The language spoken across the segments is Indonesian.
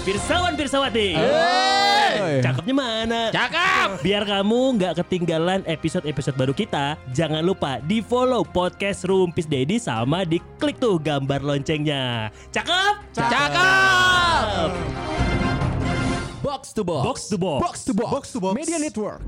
Pirsawan Pirsawati. Eh. Hey. Cakepnya mana? Ya. Cakep. Biar kamu nggak ketinggalan episode-episode baru kita, jangan lupa di follow podcast Rumpis Dedi sama di klik tuh gambar loncengnya. Cakep? Cakep. Box to box. Box to box. Box to box. Box to box. Media Network.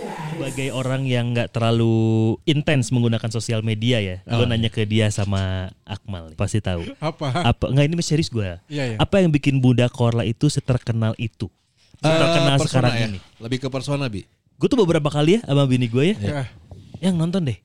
Sebagai orang yang nggak terlalu intens menggunakan sosial media ya, Oh. gue nanya ke dia sama Akmal, pasti tahu. Apa? Apa nggak ini mas serius gue? Iya, iya. Apa yang bikin Bunda Korla itu seterkenal itu? Seterkenal Eh, persona sekarang ya? ini. Lebih ke persona bi. Gue tuh beberapa kali ya sama bini gue ya, Ya. yang nonton deh,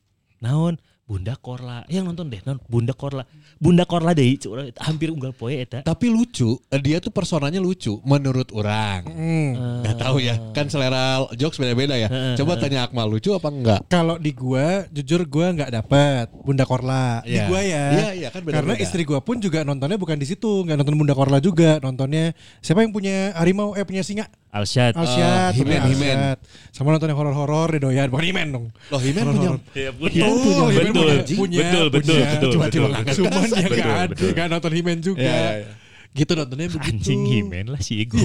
naon Bunda Korla, yang nonton deh, naon Bunda Korla, Bunda Korla deh, Cuk, orang hampir unggal poe eta. Tapi lucu, eh, dia tuh personanya lucu menurut orang. Eh. Hmm. Gak tahu ya, kan selera jokes beda-beda ya. Coba tanya Akmal lucu apa enggak? Kalau di gua, jujur gua nggak dapet Bunda Korla. Di Iya. gua ya. Iya, iya, kan beda-beda. Karena istri gua pun juga nontonnya bukan di situ, nggak nonton Bunda Korla juga, nontonnya siapa yang punya harimau eh punya singa? Alsyad. Alsyad, Eh, punya Himen, Himen. Alsyad. Sama nonton yang horor-horor deh doyan, bukan Himen dong. Loh, Himen punya Iya, Oh, Himen betul, punya, betul, betul, betul, punya. betul, betul, Cuma dia nggak- betul. Cuman dia nggak Betul, ada, betul. nggak nonton Himen juga. Iya, iya, Gitu nontonnya begitu. Anjing Himen lah si Ego.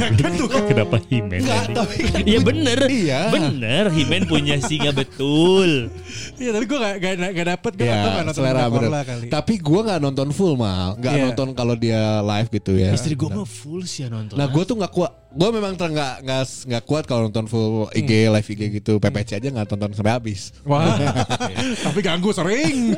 Kenapa Himen? Enggak, anjing? tapi kan Iya bener. Iya. Bener, Himen punya singa betul. Iya, tapi gua nggak nggak nggak dapet gua nggak tahu nggak Ya, nonton selera Bunda bener. Korla kali. Tapi gua nggak nonton full mal, nggak Iya. nonton kalau dia live gitu ya. Istri gue mah full sih ya nonton. Nah, gue tuh nggak kuat. Gue memang ter nggak nggak nggak kuat kalau nonton full IG live IG gitu. PPC aja nggak tonton sampai habis. Wah, tapi ganggu sering.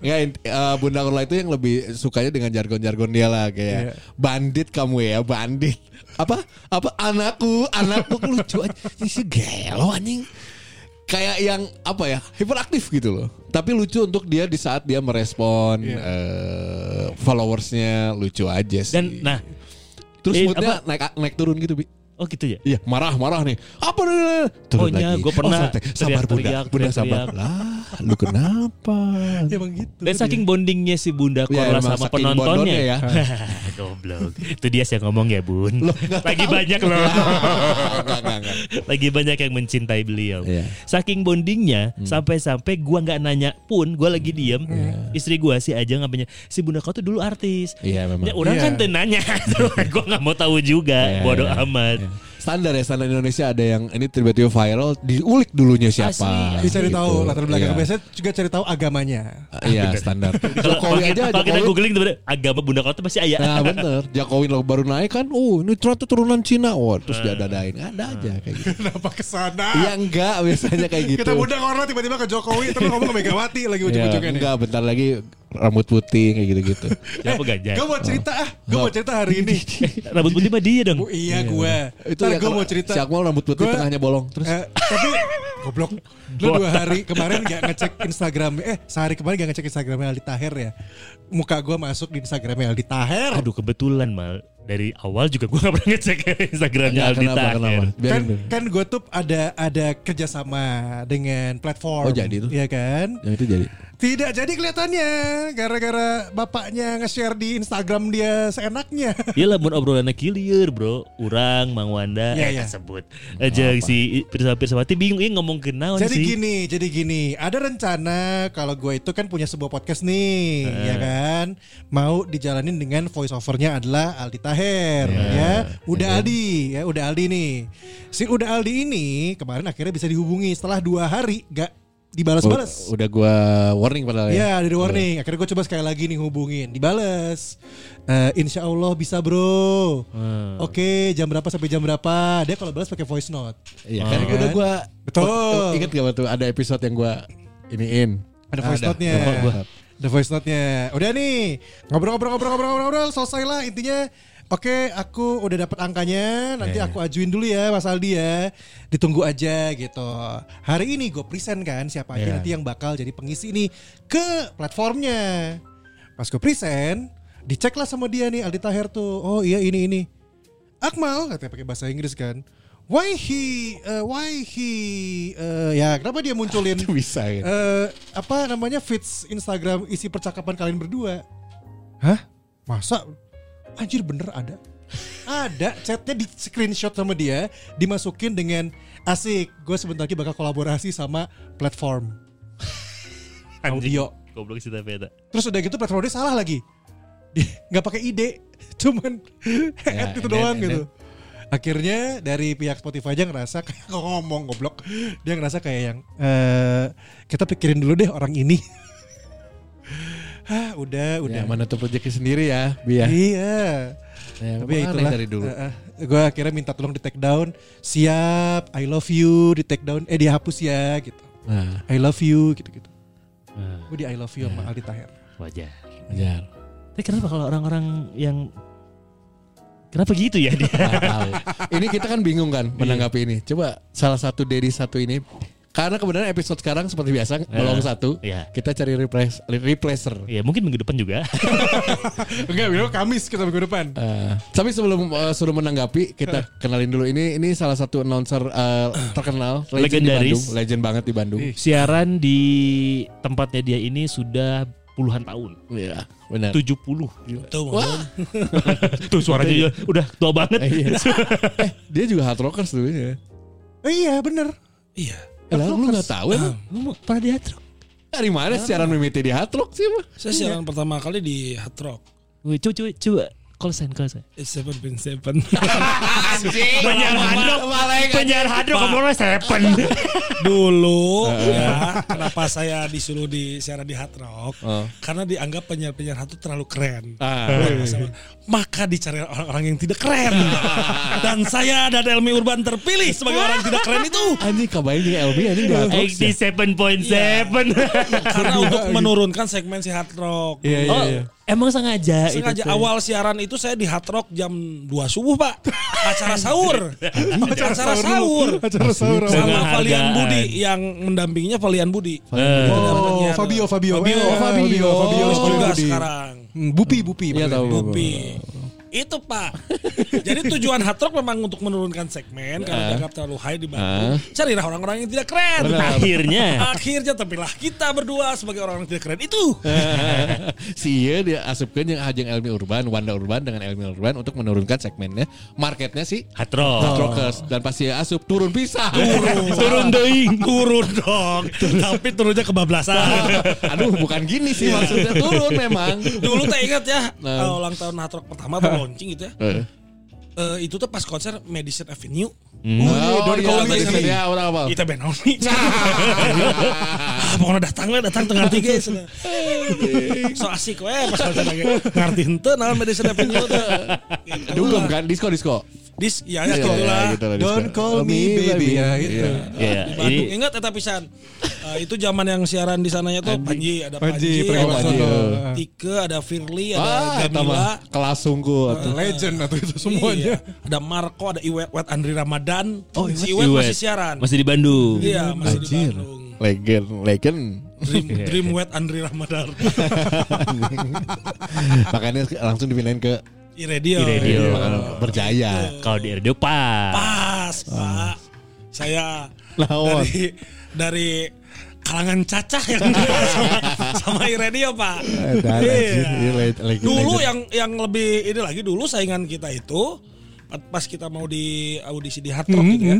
Nggak, int- eh, Bunda Korla itu yang lebih sukanya dengan jargon-jargon dia lah kayak Iya. bandit kamu ya, bandit. Apa? Apa anakku, anakku lucu aja. Ini si gelo anjing. Kayak yang apa ya? Hiperaktif gitu loh. Tapi lucu untuk dia di saat dia merespon Iya. eh, followersnya lucu aja sih. Dan nah, terus eh, moodnya naik naik turun gitu, Bi. oh gitu ya. Iya marah marah nih. Apa nih? Oh, iya, gua pernah santai. sabar teriak-teriak, bunda, bunda sabar. teriak-teriak. Lah, lu kenapa? Emang gitu. Dan saking bondingnya si Bunda Ya, Korla emang sama saking penontonnya bondonnya ya. Goblok. Itu dia sih yang ngomong ya, Bun. Loh, nggak Lagi tahu. banyak loh. Iya. Enggak, enggak, enggak. Lagi banyak yang mencintai beliau. Iya. Hmm. Saking bondingnya sampai-sampai gua nggak nanya pun, gua lagi diem. Istri gua sih aja nggak nanya. Si Bunda kau tuh dulu artis. Iya Ya, memang. orang Iya. kan teu nanya. gua nggak mau tahu juga. Iya, Bodoh iya. amat. Standar ya standar Indonesia ada yang ini tiba-tiba viral diulik dulunya siapa. Asli, asli. Dicari Gitu. tahu latar belakang. ya? Gitu. Iya. Biasanya juga cari tahu agamanya. Iya standar. Kalau kalau Jokowi kita, aja kalau kita Jokowi. googling sebenarnya agama Bunda Korla tuh pasti ayah. Nah bener Jokowi lo baru naik kan Oh ini ternyata turunan Cina Wah terus Eh. dia dadain Ada aja kayak gitu Kenapa kesana? Iya enggak biasanya kayak gitu Eh. Kita mudah orang tiba-tiba ke Jokowi terus ngomong ke Megawati lagi ujung-ujungnya Ya, nih. enggak bentar lagi rambut putih kayak gitu-gitu. Siapa ganjar? Gue mau cerita ah, gue mau cerita hari ini. Rambut putih mah dia dong. Oh, iya gue. Itu Ntar ya gue kalau mau cerita. Si Akmal rambut putih Gua- tengahnya bolong terus. Eh, tapi goblok. Lu dua hari kemarin gak ngecek Instagram Eh sehari kemarin gak ngecek Instagramnya Aldi Taher ya Muka gue masuk di Instagramnya Aldi Taher Aduh kebetulan mal dari awal juga gue gak pernah ngecek ya Instagramnya Enggak, Aldi Taher. Biarin, Kan, biarin. kan gue tuh ada ada kerjasama dengan platform Oh, jadi tuh. Iya kan Yang itu jadi. Tidak jadi kelihatannya gara-gara bapaknya nge-share di Instagram dia seenaknya. Iya lah, mun obrolannya kilir bro, urang, Mang Wanda, Iya, eh, iya. tersebut. Aja si Pirsa Pirsawati bingung ini ngomong ke naon Oh, jadi sih. gini, jadi gini. Ada rencana kalau gue itu kan punya sebuah podcast nih, ya kan? Mau dijalanin dengan voice overnya adalah Aldi Taher, ya. Udah Aldi, ya udah Aldi nih. Si udah Aldi ini kemarin akhirnya bisa dihubungi setelah dua hari gak dibalas-balas. Udah gua warning padahal Oh, ya. Ya, ada di warning. Akhirnya gue coba sekali lagi nih hubungin, dibales. Eh, insya Allah bisa bro. Oke, jam berapa sampai jam berapa? Dia kalau balas pakai voice note. Iya kan Kan? udah gua Betul. Oh, Ingat gak waktu ada episode yang gua iniin. Ada voice note-nya. Ada voice note. Ada voice note-nya. Udah nih, ngobrol-ngobrol-ngobrol-ngobrol-ngobrol, selesai lah intinya. Oke, aku udah dapat angkanya. Nanti Iya. aku ajuin dulu ya, Mas Aldi ya. Ditunggu aja gitu. Hari ini gue present kan siapa aja Iya. nanti yang bakal jadi pengisi ini ke platformnya. Pas gue present, dicek lah sama dia nih Aldi Taher tuh. Oh iya ini ini. Akmal katanya pakai bahasa Inggris kan. why he eh, why he eh, ya kenapa dia munculin Itu bisa kan. eh, apa namanya feeds Instagram isi percakapan kalian berdua? Hah? Masa anjir bener ada? ada chatnya di screenshot sama dia dimasukin dengan asik gue sebentar lagi bakal kolaborasi sama platform audio Goblok sih tapi ada. terus udah gitu platformnya salah lagi Dia nggak pakai ide cuman Ya, add itu and doang then- and gitu akhirnya dari pihak Spotify aja ngerasa kayak ngomong goblok dia ngerasa kayak yang eh kita pikirin dulu deh orang ini Hah, udah udah Ya, mana tuh proyeknya sendiri ya, Bi ya. iya Ya, tapi ya aneh itulah dari dulu. gue akhirnya minta tolong di take down siap I love you di take down eh dihapus ya gitu Nah, I love you gitu gitu Ah, gue di I love Ya. you sama Aldi Taher wajar. wajar. Tapi kenapa kalau orang-orang yang kenapa gitu ya dia? Nggak tahu. ini kita kan bingung kan Iya. menanggapi ini. Coba salah satu dari satu ini karena kebenaran episode sekarang seperti biasa bolong satu. Iya. Kita cari replace, replacer. ya mungkin minggu depan juga. Enggak, besok Kamis kita minggu depan. Eh, tapi sebelum eh, suruh menanggapi kita kenalin dulu ini ini salah satu announcer eh, terkenal legend di Legendaris. Bandung, legend banget di Bandung. Ih. Siaran di tempatnya dia ini sudah puluhan tahun. Iya, benar. 70 Wah, Tuh suaranya juga udah tua banget. Eh, iya. eh, dia juga hard rockers dulunya. Eh, iya, bener. Iya. Eh, lah, lu nggak tahu emang? Lu mau pernah di Hard Rock? Dari mana siaran mimiti di hard rock sih? Bang? Saya siaran pertama kali di Hard Rock. Wih, coba coba coba call sign call sign. It's seven pin Penyiar hadrok, penyiar hadrok ngomongnya sepen. Dulu ya, kenapa saya disuruh di siaran di Hard Rock? Oh. Karena dianggap penyiar-penyiar Hard Rock terlalu keren. Ah. Sama- Maka dicari orang-orang yang tidak keren. Dan saya dan Elmi Urban terpilih sebagai orang tidak keren itu. Anjing kabarin juga LB anjing di hard rock. Iya. Eighty seven point seven. Karena untuk menurunkan segmen si Hard Rock. Iya, iya, Oh, iya. emang sengaja. itu Sengaja tuh. awal siaran itu saya di Hard Rock jam 2 subuh pak Acara sahur Acara sahur Acara sahur. Dengan Sama Valian hargaan. Budi Yang mendampinginya Valian Budi Eh, Oh, Fabio, Fabio. Fabio, Fabio, Fabio. Terus juga Budi. sekarang Hmm, Bupi, Bupi. Iya tahu. Bupi itu pak Jadi tujuan Hard Rock memang untuk menurunkan segmen Karena dianggap terlalu high di Bandung Carilah orang-orang yang tidak keren Akhirnya. Akhirnya terpilih kita berdua sebagai orang yang tidak keren itu si iya dia asupkan yang Ajeng Elmi Urban, Wanda Urban dengan Elmi Urban untuk menurunkan segmennya, marketnya si Hard Rock. Hard Rockers dan pasti asup Oh. turun pisah. Turun doing. Turun dong Tapi turunnya kebablasan Aduh bukan gini sih maksudnya turun memang. Dulu tak ingat ya Nah. eh, ulang tahun Hard Rock pertama atau launching gitu ya. Eh. Eh, itu tuh pas konser Madison Avenue. Oh, don't iya, call me tadi Sri. dia orang apa? Kita band only. ah, pokoknya datang lah, datang tengah tiga. sana. so asik we pas konser lagi. Ngerti henteu naon Madison Avenue tuh. Gitu Dugem lah. kan disco disco. Dis ya ya gitu lah. gitu lah, disco. Don't call me baby. Ya, gitu. Ya, Iya, Di Bandung ini ingat eta pisan. Eh, itu zaman yang siaran di sananya tuh Panji, ada Panji, Panji, Pergi ada Soto. Tike, ada Firly, Wah, Ya, ada Ah. eta Gamila. mah Ah, kelas sungguh. atuh. Legend atau itu semuanya. Iya. Ada Marco, ada Iwet, Wet Andri Ramadan. Oh, si Iwet. Iwet masih siaran. masih di Bandung. Iya, masih di Anjir. Iya, Bandung. Legend, legend. Dream, Dream Wet Andri Ramadan. Makanya langsung dipindahin ke Di radio. radio. Iya. Makanya berjaya. Iya. Kalau di radio pak. Pas, Pak. Saya Ah. Lawan. dari dari kalangan cacah yang sama, sama radio, Pak. Eh, dan anjir, iya, le- legend, Dulu legend. yang yang lebih ini lagi dulu saingan kita itu pas kita mau di audisi di Hard Rock Hmm, gitu ya,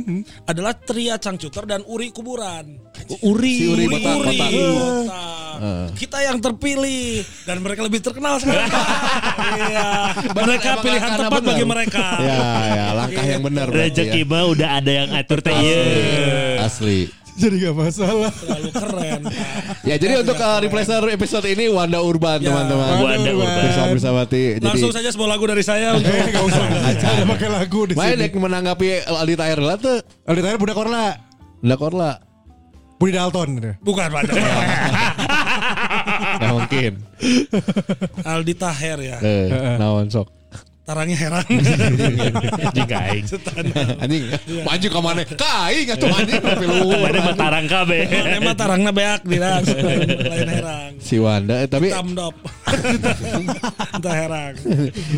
adalah Tria Cangcuter dan Uri Kuburan. Uri. Si Uri Eh. Uri, Iya. botak, botak. botak. Kita yang terpilih dan mereka lebih terkenal sekarang. iya. Mereka Emang pilihan karena tepat benar. bagi mereka. Ya, ya, langkah yang benar. berarti Rezeki Iya. mah udah ada yang atur teh. ya. Iya. Asli. Jadi gak masalah. Terlalu keren. Pak. Ya, jadi untuk uh, replacer episode ini Wanda Urban, Ya. teman-teman. Wanda Urban. Bersama bersama Ti. Jadi Langsung saja sebuah lagu dari saya untuk Eh, gak usah. Ada pakai lagu di Main sini. dek menanggapi Aldi Tahir lah tuh. Aldi Taher budak Orla. Lah korla. Budi Dalton. gitu. bukan Pak Nah, mungkin. Aldi Taher ya. Eh, naon sok. Tarangnya heran. Jika aing. Anjing, maju ke mana? Kai enggak tuh anjing film. Mana mah tarang kabe. Eh, Emang tarangnya beak dirang lain lain herang. Si Wanda eh, tapi Tamdop. Entah herang.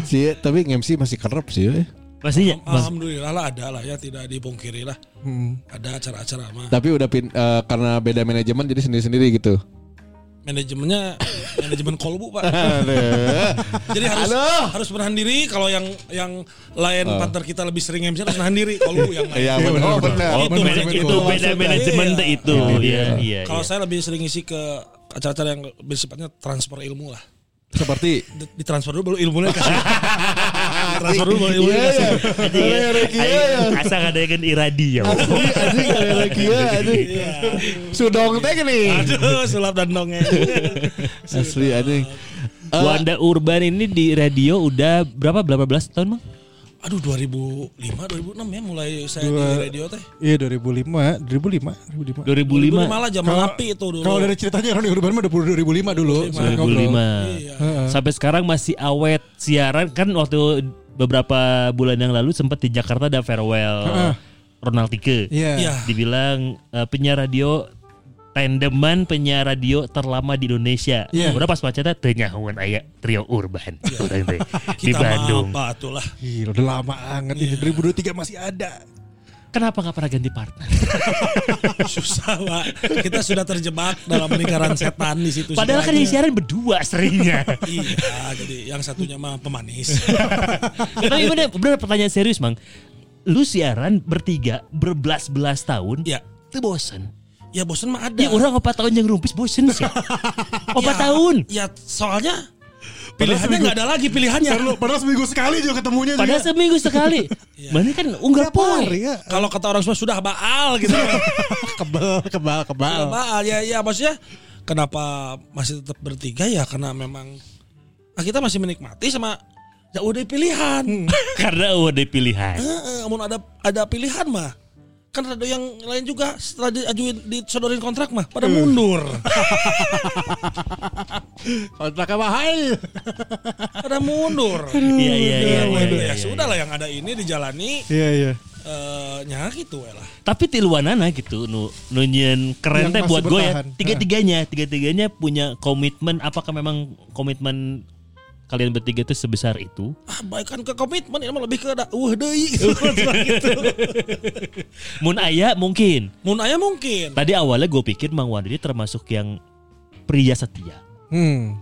si tapi MC masih kerep sih. eh. Pastinya. Bang. Alhamdulillah lah ada lah ya tidak dipungkiri lah. Hmm. Ada acara-acara mah. Tapi udah pin, eh, karena beda manajemen jadi sendiri-sendiri gitu. Manajemennya manajemen kolbu pak. Aduh. Jadi harus Halo. harus menahan diri kalau yang yang lain partner kita lebih sering MC harus menahan diri kolbu yang lain. Iya benar. Oh, benar. Itu, mana- Benar, benar. itu Benar. beda manajemen ah, gitu. Iya. itu. Iya, iya. Kalau iya. saya lebih sering isi ke acara-acara yang bersifatnya transfer ilmu lah. Seperti Di- Ditransfer dulu baru ilmunya kasih. Transfer dulu baru ilmunya Iya, kasih. iya. Jadi, Iya, Reki, iya, iya. ayo, Asal ada yang iradi ya. Asli, asli, gak ada lagi ya, asli. Sudong teh gini. Aduh, sulap dan dongeng. Asli anjing. Eh, Wanda Urban ini di radio udah berapa berapa belas tahun bang? Aduh 2005 2006 ya mulai saya di Dua- radio teh. Iya 2005, 2005, 2005. 2005 malah zaman api itu dulu. Kalau dari ceritanya Roni Urban mah udah 2005 dulu. 2005. Sampai sekarang masih awet siaran kan waktu beberapa bulan yang lalu sempat di Jakarta ada farewell Heeh. Ronald Tike. Iya. Iya. Dibilang eh, penyiar radio tandeman penyiar radio terlama di Indonesia. Iya. Udah pas macetnya teu nyahuan aya trio urban Orang teh. di kita Bandung. apa tuh lah. Gila udah lama banget ini 2023 masih ada. Kenapa nggak pernah ganti partner? Susah, Pak. Kita sudah terjebak dalam lingkaran setan di situ. Padahal kan sebenarnya. yang siaran berdua seringnya. Iya, jadi yang satunya mah pemanis. Tapi bener, bener pertanyaan serius mang. Lu siaran bertiga berbelas-belas tahun. Iya. Itu bosen. ya bosan mah ada. Ya orang opat tahun yang rumpis bosen Iya. sih. Opat Ya, tahun. Ya soalnya pilihannya nggak ada lagi pilihannya. Padahal, padahal seminggu sekali juga ketemunya Padahal juga. seminggu sekali. Iya. Mana kan unggal poe. ya. Kalau kata orang semua sudah baal gitu. Kebal, kebal, kebal. Sudah baal ya ya maksudnya kenapa masih tetap bertiga ya karena memang ah, kita masih menikmati sama ya udah Hmm. pilihan. Karena udah pilihan. Heeh, Namun ada ada pilihan mah. Kan ada yang lain juga setelah diajuin disodorin kontrak mah pada mundur. Kontraknya mahal. pada mundur. Hmm, Iya iya iya. Ya, iya, waduh, iya, ya iya. sudah lah yang ada ini dijalani Iya, iya. eh nya gitu we lah. Tapi tiluanana gitu nu nu nyeun keren Yang teh masih buat gue ya. bertahan. Tiga-tiganya, tiga-tiganya punya komitmen apakah memang komitmen kalian bertiga itu sebesar itu? Ah, baik kan ke komitmen ini mah lebih ke da- uh deui gitu. gitu. Mun aya mungkin. Mun aya mungkin. Tadi awalnya gue pikir Mang Wandi ini termasuk yang pria setia. Hmm.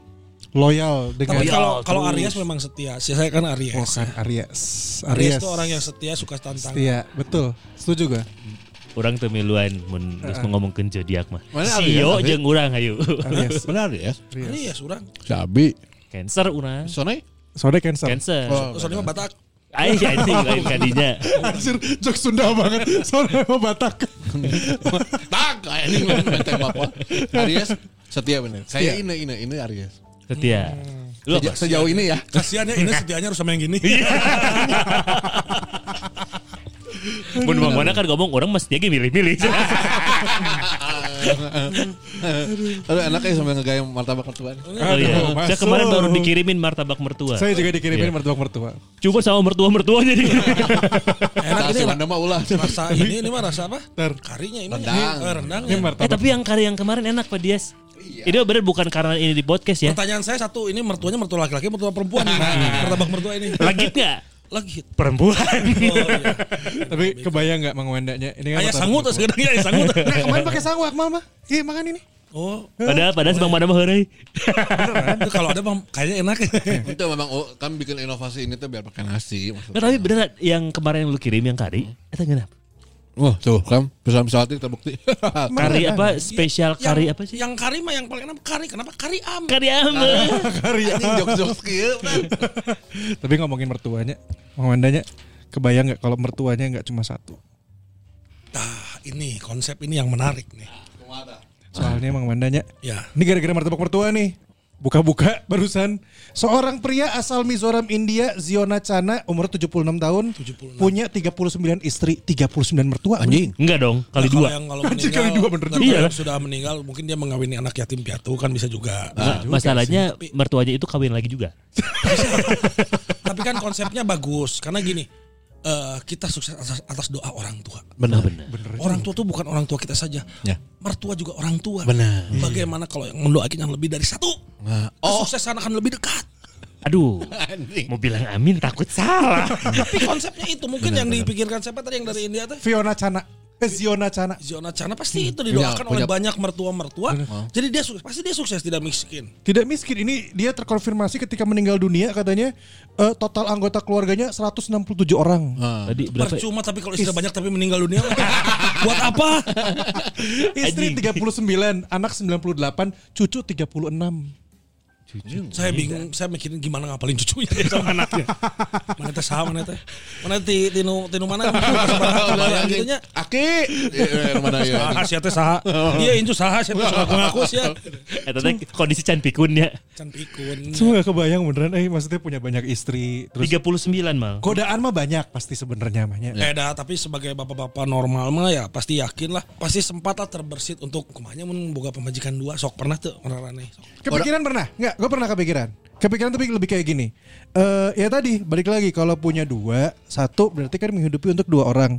Loyal dengan Tapi Loyal kalau kalau terus. Aries memang setia. Si saya kan Aries. Oh, kan, Aries. Aries itu orang yang setia suka tantangan. Iya, betul. Setuju gua. Orang temiluan mun geus ngomongkeun zodiak mah. Mana Sio Aries, Aries? jeung urang ayo. Aries. Benar ya. Aries orang. Sabi. Cancer urang. Sone. Soalnya cancer. Oh. Cancer. Soalnya mah Batak. Aing anjing lain kadinya. Anjir, jok Sunda banget. Soalnya mau Batak. Tak, kayak ini benteng bapak. Aries setia bener. Saya ini ini ini Aries. Setia. Hmm. Lu apa? Seja- Sejauh ini ya. Kasihan ya ini setianya harus sama yang gini. Iya. Mun Bang Wana kan ngomong orang mesti lagi milih-milih. Aduh enaknya sambil ngegayam martabak mertuan. Oh iya. Aduh, Saya masuk. kemarin baru dikirimin martabak mertua. Saya juga dikirimin Iya. mertua-mertua. Coba sama mertua-mertuanya nih. Enak Nah, ini si lah. Wanda mah ulah. Rasa ini ini mah rasa apa? Ter. Karinya ini. Rendang. Eh, rendang Ini ya. eh martabak. tapi yang kari yang kemarin enak Pak Dias. Iya. Ini bener bukan karena ini di podcast ya. Pertanyaan saya satu, ini mertuanya mertua laki-laki, mertua perempuan. nih, Martabak mertua ini. Lagi nggak? Lagi. Perempuan. Oh, iya. Tapi kebayang nggak Mang Wandanya? Ini kan Ayah martabak sangut, mertua. sekarang ayah sangut. Nah, kemarin pakai sangwak mama. Iya, makan ini. Oh, Padahal padahal sebang mana mah heureuy. itu kalau ada Bang, kayaknya enak. Itu memang oh, kan bikin inovasi ini tuh biar pakai nasi. Nggak, tapi beneran yang kemarin lu kirim yang kari, itu kenapa? Wah tuh kan pesan pesawat ini terbukti. Kari apa spesial kari apa sih? Yang kari mah yang paling enak kari. Kenapa kari am? Kari Nah. ame. Karya. Jok-jok skill. Tapi ngomongin mertuanya, Mang Wandanya kebayang nggak kalau mertuanya nggak cuma satu? Nah, ini konsep ini yang menarik nih. Soalnya Mang Wandanya, Ya. ini gara-gara martabak mertua nih. Buka-buka barusan Seorang pria asal Mizoram India Ziona Chana umur 76 tahun Punya 39 istri 39 mertua Anjing Enggak dong, kali Nah, kalau dua. Yang kalau Anjing, meninggal, kali dua bener nah, juga. kalau Iya. yang sudah meninggal mungkin dia mengawini anak yatim piatu kan bisa juga. Nah, masalahnya mertuanya itu kawin lagi juga. Tapi kan konsepnya bagus karena gini, eh, kita sukses atas, atas doa orang tua. Benar benar. Orang tua tuh bukan orang tua kita saja. Ya. Mertua juga orang tua. Benar. Hmm. Bagaimana kalau yang mendoakan yang lebih dari satu? Nah, Kesuksesan akan lebih dekat. Aduh, mau bilang amin takut salah. Tapi konsepnya itu mungkin yang dipikirkan siapa tadi yang dari India tuh? Fiona Cana. Eh, Ziona Cana. Zona Chana pasti itu Hmm. didoakan Iya, Punya- oleh punya- banyak mertua-mertua. Jadi dia sukses, pasti dia sukses tidak miskin. Tidak miskin ini dia terkonfirmasi ketika meninggal dunia katanya eh, total anggota keluarganya 167 orang. Tadi berapa? ya? Percuma tapi kalau istri banyak tapi meninggal dunia buat apa? Istri 39, anak 98, cucu 36. saya bingung, saya mikirin gimana ngapalin cucunya sama anaknya. Mana teh sama mana teh? Mana ti tinu tinu mana? Kebayang gitunya. Aki. Eh, Mana ya? Saha sia teh saha. Iya incu saha sia teh suka ngaku ya. sia. Eh, tadi kondisi Chan Pikun ya. Can pikun. Cuma gak kebayang beneran eh maksudnya punya banyak istri terus 39 mal. godaan mah banyak pasti sebenarnya mahnya. Eh dah, tapi sebagai bapak-bapak normal mah ya pasti yakin lah. Pasti sempat lah terbersit untuk kumanya mun boga pemajikan dua. Sok pernah tuh orang aneh. Kepikiran pernah? Enggak, gue pernah kepikiran. Kepikiran tapi lebih kayak gini. Eh ya tadi balik lagi kalau punya dua, satu berarti kan menghidupi untuk dua orang.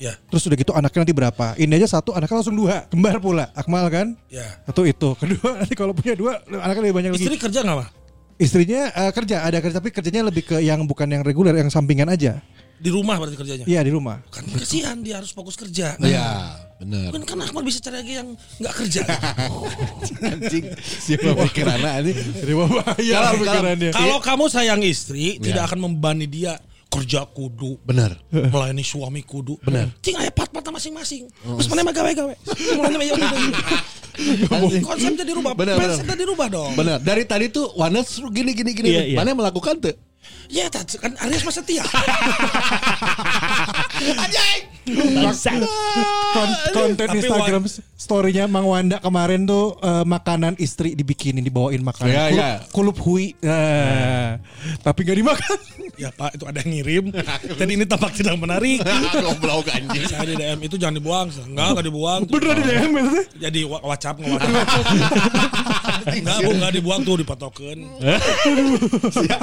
Ya, Terus udah gitu anaknya nanti berapa? Ini aja satu anaknya langsung dua. Kembar pula, Akmal kan? ya. Satu itu. Kedua nanti kalau punya dua anaknya lebih banyak lagi. Istri kerja nggak mah? Istrinya eh, kerja, ada kerja tapi kerjanya lebih ke yang bukan yang reguler, yang sampingan aja. Di rumah berarti kerjanya. Iya di rumah. Kan kasihan dia harus fokus kerja. Ya, benar. Kan kan Akmal bisa cari lagi yang nggak kerja. Anjing. Siapa pikirannya ini? Terima bahaya Kalau- kalau- iya, pikirannya. Kalau kamu sayang istri, tidak akan membebani dia kerja kudu. Benar. melayani suami kudu benar cing aya pat patah masing-masing terus mana mah gawe-gawe mulanya mah ya udah. konsepnya dirubah Benar, benar. mindsetnya dirubah dong Benar. Dari tadi tuh Wanet suruh gini gini gini. Iya, iya. Mana yang melakukan tuh? ya tadi kan Aries mah setia Anjing. Bangsat. Kon- konten Tapi Instagram story-nya Mang Wanda kemarin tuh eh, makanan istri dibikinin dibawain makanan Iya, kulup, iya. kulup hui Eh, tapi nggak dimakan ya pak itu ada yang ngirim jadi ini tampak tidak menarik Goblok anjing. saya di DM itu jangan dibuang enggak enggak dibuang beneran di gitu DM maksudnya jadi wa- wacap nge enggak bu enggak dibuang tuh dipatokeun Sia.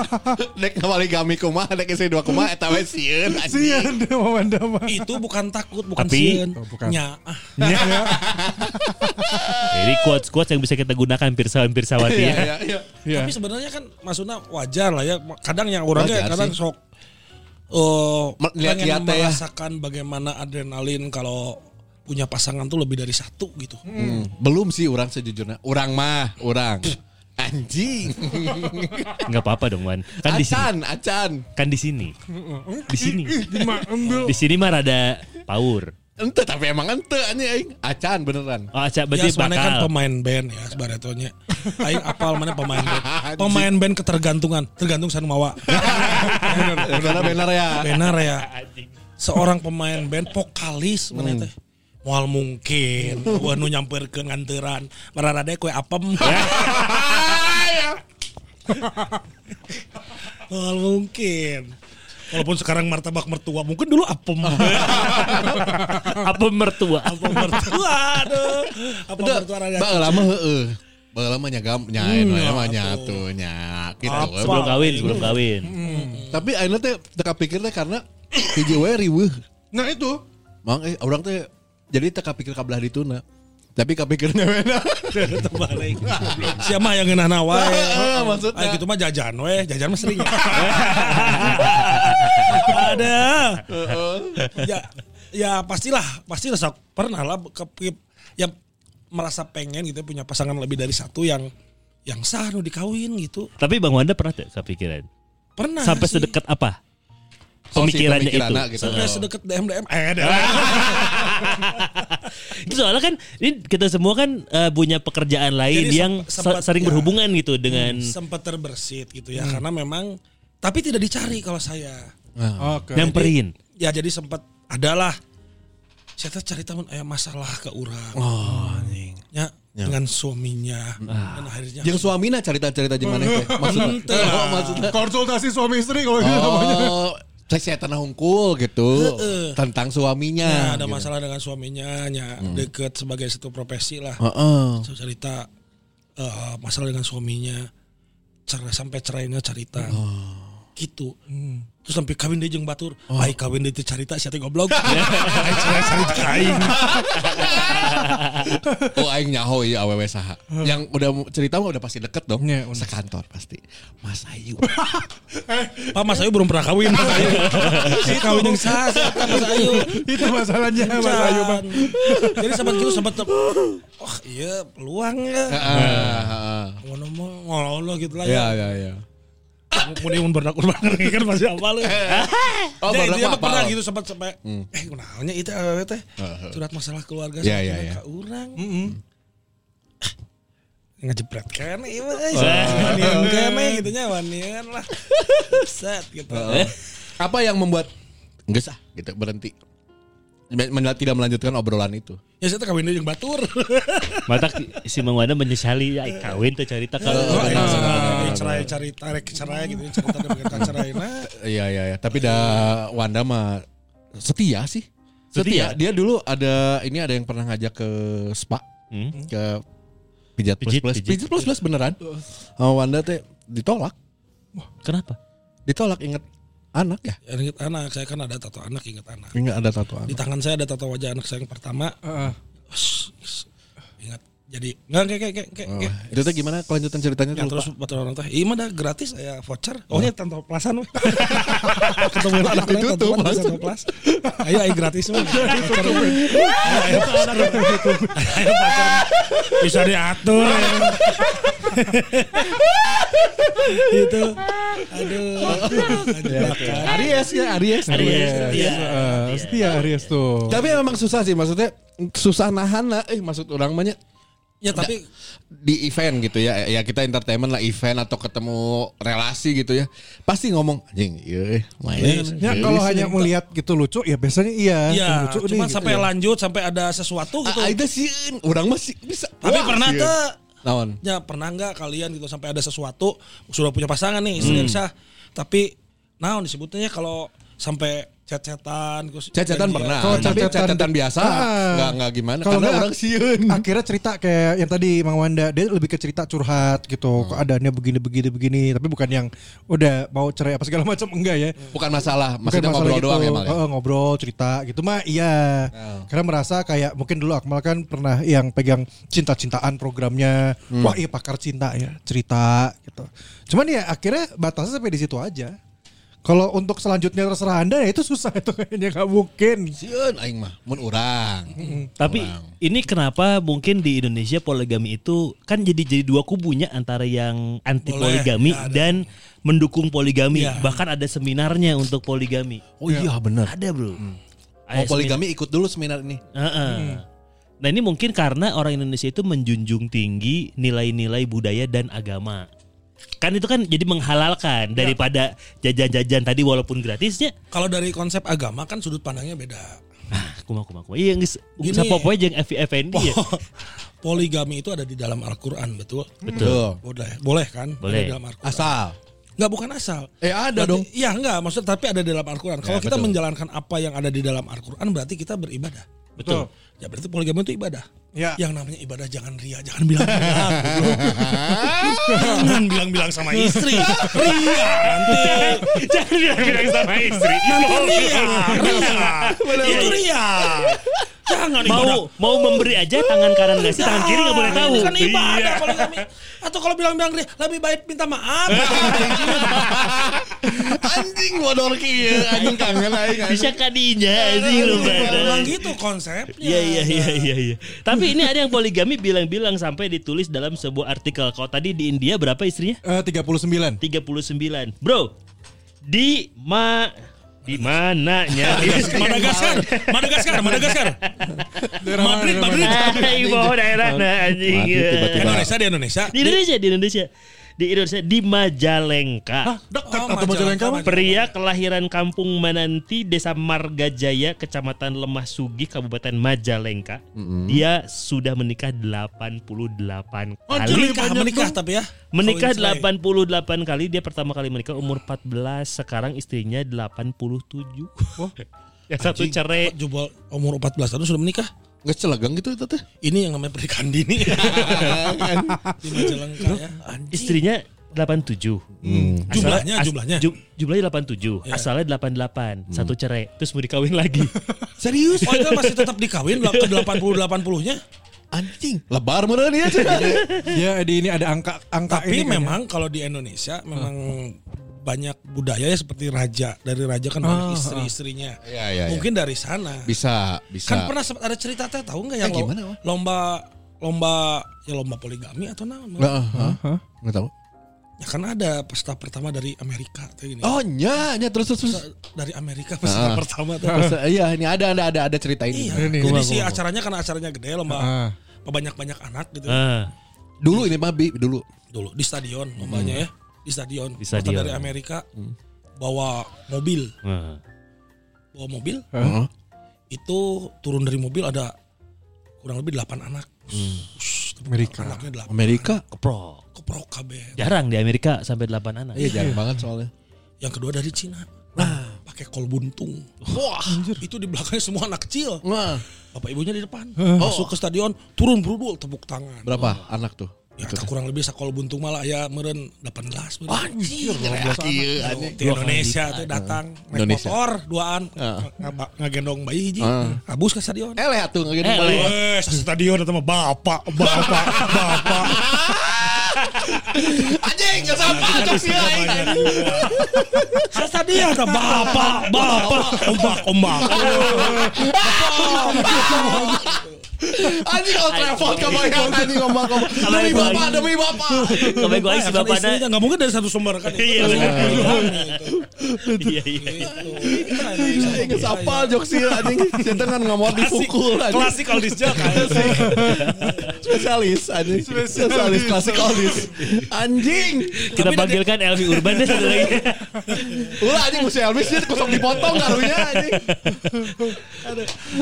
Dek kembali kami kumaha, dek istri dua kumaha eta we sieun anjing. sian deh Mang Wanda mah itu bukan takut bukan Tapi- sieun Oh, bukan. nya ah. Iya. Jadi quotes-quotes yang bisa kita gunakan pirsawan-pirsawati Iya, ya. iya, iya. Iya. Tapi sebenarnya kan maksudnya wajar lah ya. Kadang yang orangnya Wajar kadang sih. sok eh Mel- pengen lihat-lihat ya. merasakan bagaimana adrenalin kalau punya pasangan tuh lebih dari satu gitu. Hmm. Belum sih orang sejujurnya. Orang mah, orang. Anjing. iya. Enggak apa-apa dong, Wan. Kan di sini. Acan, acan. Kan di sini. Di sini. Dimak- ambil. Di sini mah rada power. Ente tapi emang ente anjing aing. Acan beneran. Oh, acak Ya berarti sebenarnya kan bakal. pemain band ya sebaratonya. Aing apal mana pemain band. Pemain band ketergantungan, tergantung sanumawa. Benar benar ya. Benar ya. Seorang pemain band vokalis mana Hmm. teh. Moal mungkin wanu nyamper ke nganteran. Bararade kue apem. Ya. Moal mungkin. Walaupun sekarang martabak mertua, mungkin dulu apem. Apa mertua? apem mertua, aduh. Apem mertua rada. Bae lama heeh. Bae lama nyagam nyain we mah nyatu nya. Gitu. we. Sebelum kawin, sebelum kawin. Tapi akhirnya teh teka pikir teh karena hiji we riweuh. nah itu Mang eh orang teh jadi teka pikir kabelah dituna. Tapi kapikirnya beda. Terbalik. Siapa yang ngenah nawa? eh? Heeh, maksudnya. Ayo gitu mah jajan weh, jajan mah sering. Ada. ya, ya pastilah, pasti rasa pernah lah ke, ya merasa pengen gitu ya, punya pasangan lebih dari satu yang yang sah nu dikawin gitu. Tapi Bang Wanda pernah tuh kepikiran? Pernah Sampai sih. sedekat apa? Oh, si Pemikirannya pemikirannya itu. gitu. Sampai sedekat DM DM eh DM. Itu soalnya kan ini kita semua kan eh, punya pekerjaan lain Jadi yang sempat- se- sering ya. berhubungan gitu dengan sempat Hmm, terbersit gitu ya Hmm. karena memang tapi tidak dicari kalau saya. Nah. oke nyamperin. ya jadi sempat adalah saya tuh cari tahun eh, masalah ke orang Oh, ya, dengan suaminya dan akhirnya Ah. Yang suamina cerita-cerita jeung maneh teh. Maksudnya. Oh, maksudnya. konsultasi suami istri kalau gitu namanya Oh, kesehatan hungkul gitu Heeh. tentang suaminya. Ya, ada gitu. Hmm. masalah dengan suaminya ya deket sebagai satu profesi lah Heeh. Saya cerita Oh. eh, masalah dengan suaminya cara sampai cerainya cerita gitu terus sampai kawin dia jeung batur ai kawin dia teh carita sia teh goblok ai cenah carita aing Oh aing nyaho ya awewe saha. Yang udah cerita mah udah pasti deket dong. Iya, udah. Sekantor pasti. Mas Ayu. Pak Mas Ayu belum pernah kawin Mas Ayu si kawin yang sah si Eta, Mas Ayu Itu masalahnya Mas Ayu Bang. jadi sempat gitu sempat oh iya peluang ya ngono mah ngono gitu lah Ya ya ya ya. mending mun berdak urban kan Ya, masih apa lu Oh, Jadi baru dia mah apa? pernah gitu sempat sampai eh kenalnya itu awewe teh Heeh. curhat masalah keluarga Iya, sama iya, anak iya. ka urang. ngejebret kan iya wanian kan eh gitu nya wanian lah set gitu Apa yang membuat enggak sah gitu berhenti? Men- men- tidak melanjutkan obrolan itu. ya saya teh kawin jeung batur Mata si Mang Wanda menyesali ya kawin tuh cerita kalau cerai cari tarik cerai gitu cerita dengan kan cerai nah Iya iya iya. Tapi dah Wanda mah setia sih. Setia. Setia? Dia dulu ada ini ada yang pernah ngajak ke spa Hmm. ke pijat plus Pijit, plus. pijit. Pijat plus plus beneran. Sama Wanda teh ditolak. Kenapa? Ditolak inget anak ya. ingat anak saya kan ada tato anak ingat anak Ingat ada tato anak. di tangan saya ada tato wajah anak saya yang pertama Heeh. ingat jadi nggak kayak kayak kayak kayak- Oh, kayak itu teh gimana kelanjutan ceritanya Ya, tuh terus lupa. buat orang teh, iya mah dah gratis ya voucher. Oh ya tanpa pelasan weh. Ketemu anak teh Ditutup, tanpa pelas, langsung. tanpa pelas. Ayo ayo gratis weh. Voucher, weh. Ayo, ayo, voucher, weh. Ayo, voucher, weh. Bisa diatur. ya. Itu aduh. aduh, bakar. Aries ya Aries. Aries. Iya, heeh. Setia Aries tuh. Tapi memang susah sih maksudnya susah nahan lah. Eh maksud orang banyak Ya tapi di event gitu ya ya kita entertainment lah event atau ketemu relasi gitu ya pasti ngomong anjing iya eh, main Ya kalau hanya melihat gitu lucu ya biasanya iya. ya lucu nih, cuman sampai gitu. Ah, lanjut sampai ada sesuatu gitu. ada sih orang masih bisa Tapi Wah, pernah Iya. sieun. tuh naon Ya pernah nggak kalian gitu sampai ada sesuatu sudah punya pasangan nih istri Hmm. yang sah tapi naon disebutnya kalau sampai cecetan cacatan Iya. pernah Kalau tapi cacatan- cacatan biasa Ah. nggak nggak gimana Kalau karena nggak- Ah. orang siun Akhirnya cerita kayak yang tadi Mang Wanda dia lebih ke cerita curhat gitu Hmm. keadaannya begini begini begini tapi bukan yang udah mau cerai apa segala macam enggak ya. bukan masalah Bukan maksudnya masalah ngobrol doang gitu. emang ya Heeh, ngobrol cerita gitu mah iya. Karena merasa kayak mungkin dulu Akmal kan pernah yang pegang cinta-cintaan programnya. Hmm. Wah, iya pakar cinta ya, cerita gitu. Cuman ya akhirnya batasnya sampai di situ aja. Kalau untuk selanjutnya terserah Anda ya itu susah itu kayaknya nggak mungkin. siun aing mah mun urang Tapi ini kenapa mungkin di Indonesia poligami itu kan jadi jadi dua kubunya antara yang anti Boleh, poligami ya ada. dan mendukung poligami. Iya. Bahkan ada seminarnya untuk poligami. oh iya bener Ada, Bro. Ada Oh, mau seminar- poligami ikut dulu seminar ini Heeh. Hmm. Nah, ini mungkin karena orang Indonesia itu menjunjung tinggi nilai-nilai budaya dan agama. Kan itu kan jadi menghalalkan Iya. daripada jajan-jajan tadi walaupun gratisnya. kalau dari konsep agama kan sudut pandangnya beda Ah, kuma kuma kuma. Iya, geus Gini. Oh, sapopoe jeung FVFND ya. Iya. poligami itu ada di dalam Al-Qur'an betul Betul. boleh boleh kan Boleh. ada dalam Al-Qur'an asal nggak bukan asal eh ada dong Iya enggak, maksud tapi ada di dalam Al-Quran. Ya, Kalau kita betul. menjalankan apa yang ada di dalam Al-Quran berarti kita beribadah. Betul. Ya berarti poligami itu ibadah. Ya. Yang namanya ibadah jangan ria, jangan bilang bilang. jangan bilang-bilang sama istri. Ria nanti. Jangan bilang-bilang sama istri. Ria, Iya. ria. Itu ria. Jangan mau ibadah. mau memberi aja tangan kanan nggak sih tangan kiri nggak boleh tahu Itu Kan ibadah Iya. poligami. Atau kalau bilang-bilang ria, lebih baik minta maaf. anjing bodor kieu anjing kangen aing bisa kadinya anjing lu Memang Bang. gitu konsepnya. Iya iya iya iya iya. Tapi ini ada yang poligami bilang-bilang sampai ditulis dalam sebuah artikel. Kalau tadi di India berapa istrinya? Eh, 39. 39. Bro, di ma di mananya? Madagaskar, Madagaskar, Madagaskar. Madrid, Madrid. Di bawah daerah nah anjing. Mati tiba-tiba. Indonesia di Indonesia. Di Indonesia, di Indonesia. Di Indonesia di Majalengka. Dekat atau Oh, Majalengka mah? Pria kelahiran Kampung Mananti, Desa Margajaya, Kecamatan Lemah Sugih, Kabupaten Majalengka. Dia sudah menikah 88 Oh, kali. Menikah, menikah tapi ya. Menikah Kawin cerai. 88 kali, dia pertama kali menikah umur 14, sekarang istrinya 87. Oh. Yang satu cerai. E. Jebol umur 14 tahun sudah menikah. Nggak celegeng gitu itu teh. Kan. Ini yang namanya pernikahan dini. Di Majalengka ya. Istrinya 87. Hmm. Jumlahnya, as- jumlahnya. ju- jumlahnya 87. Asalnya 88, Hmm. satu cerai, terus mau dikawin lagi. Serius? Oh itu masih tetap dikawin ke 80-80-nya. Anjing. Lebar mana dia cuy. Ya di ini ada angka Nah, angka Tapi ini kayaknya. memang kalau di Indonesia memang banyak budaya ya seperti raja. Dari raja kan banyak istri-istrinya. Ah, Iya, iya, iya. Mungkin dari sana. Bisa, bisa. Kan pernah sempat ada cerita teh tahu nggak yang Eh, lo- gimana, Wak? lomba lomba ya lomba poligami atau nama? Nggak, ah, ah. Nggak tahu. Ya kan ada peserta pertama dari Amerika teh ini. Oh, nya, nya terus terus. terus. Peserta Dari Amerika peserta Ah. pertama teh. Terus, Iya, ini ada ada ada ada cerita ini. Iya. Ini, Jadi gua- si gua- gua. acaranya karena acaranya gede lomba Ah. banyak-banyak anak gitu. Ah, Dulu ini Pak Bi, dulu. dulu di stadion lombanya ya di stadion Di Kota stadion. dari Amerika bawa mobil ah. bawa mobil Heeh. itu turun dari mobil ada kurang lebih 8 anak Shhh, Amerika. anaknya delapan Amerika Keprok. keprok kabeh. Jarang di Amerika sampai 8 anak. Iya jarang banget soalnya. yang kedua dari Cina nah pakai kol buntung wah itu di belakangnya semua anak kecil Wah, bapak ibunya di depan masuk ke stadion turun berudul tepuk tangan berapa anak tuh? ya tak kurang lebih sakol buntung malah ya meren 18 meureun. Iya, Anjir, iya, anjing. Iya. di Indonesia teh datang naik Indonesia. motor duaan Ah. ngaba- ngagendong bayi hiji Ah. abus ke stadion Eh, lihat tuh nggak gitu. Eh, lihat. eh stadion atau bapak bapak bapak Anjing, nggak sama. Cok, sih, anjing. iya, stadion atau bapak bapak ombak ombak Anjing, kalau travel kebayang anjing ngomong ngomong. Kalau Demi yang bapak, lain. demi bapak. Sampai gue si Nah, karena bapaknya. istrinya nggak mungkin dari satu sumber kan Iya, Langsung benar. keluar Iya, iya. iya. gitu. Ingat apa jok sih anjing. Kita kan nggak mau dipukul anjing. klasik all this joke kan. spesialis anjing. Spesialis klasik olis. Anjing. Kita panggilkan Elvi Urban deh satu lagi. Ulah anjing musuh Elvis dia kosong dipotong karunya anjing.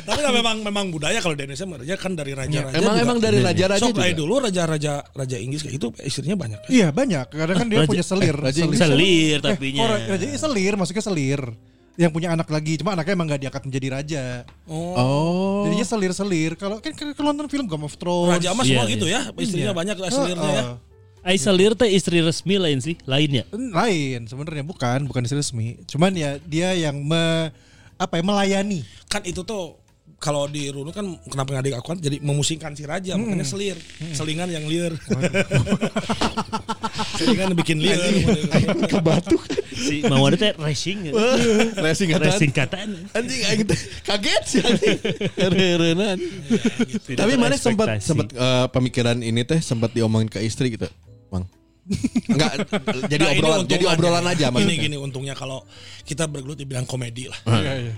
tapi nah, memang memang budaya kalau di Indonesia mereka kan dari raja-raja Iya. Emang juga. emang dari raja-raja Sok juga. dari Iya. dulu raja-raja raja Inggris kayak gitu istrinya banyak Iya banyak. Kadang kan dia Raja- punya selir. Raja Inggris. Selir Eh, tapinya. orang- raja ini selir, maksudnya selir. Yang punya anak lagi, cuma anaknya emang gak diangkat menjadi raja. oh Oh. Jadinya selir-selir. Kalau kan kan- kalau nonton film Game of Thrones. eh, raja emas semua Iya, gitu ya istrinya Iya. banyak aslinya Oh, ya Heeh. Ai selir teh istri resmi lain sih, lainnya. lain sebenarnya bukan bukan istri resmi cuman ya dia yang me, apa ya melayani kan itu tuh kalau dirunut kan kenapa nggak diakuan jadi memusingkan si raja Hmm. makanya selir selingan yang liar selingan bikin liar kebatuk. Si Mawar teh racing. Racing Racing kata. kataan. Anjing anjing kaget sih anjing. Heureunan. Tidak Tapi mana sempat terekspektasi. sempat eh, pemikiran ini teh sempat diomongin ke istri gitu. Bang. Enggak jadi Nah, ini obrolan jadi untungannya. obrolan aja gini maksudnya. Iya, gini untungnya kalau kita bergelut dibilang komedi lah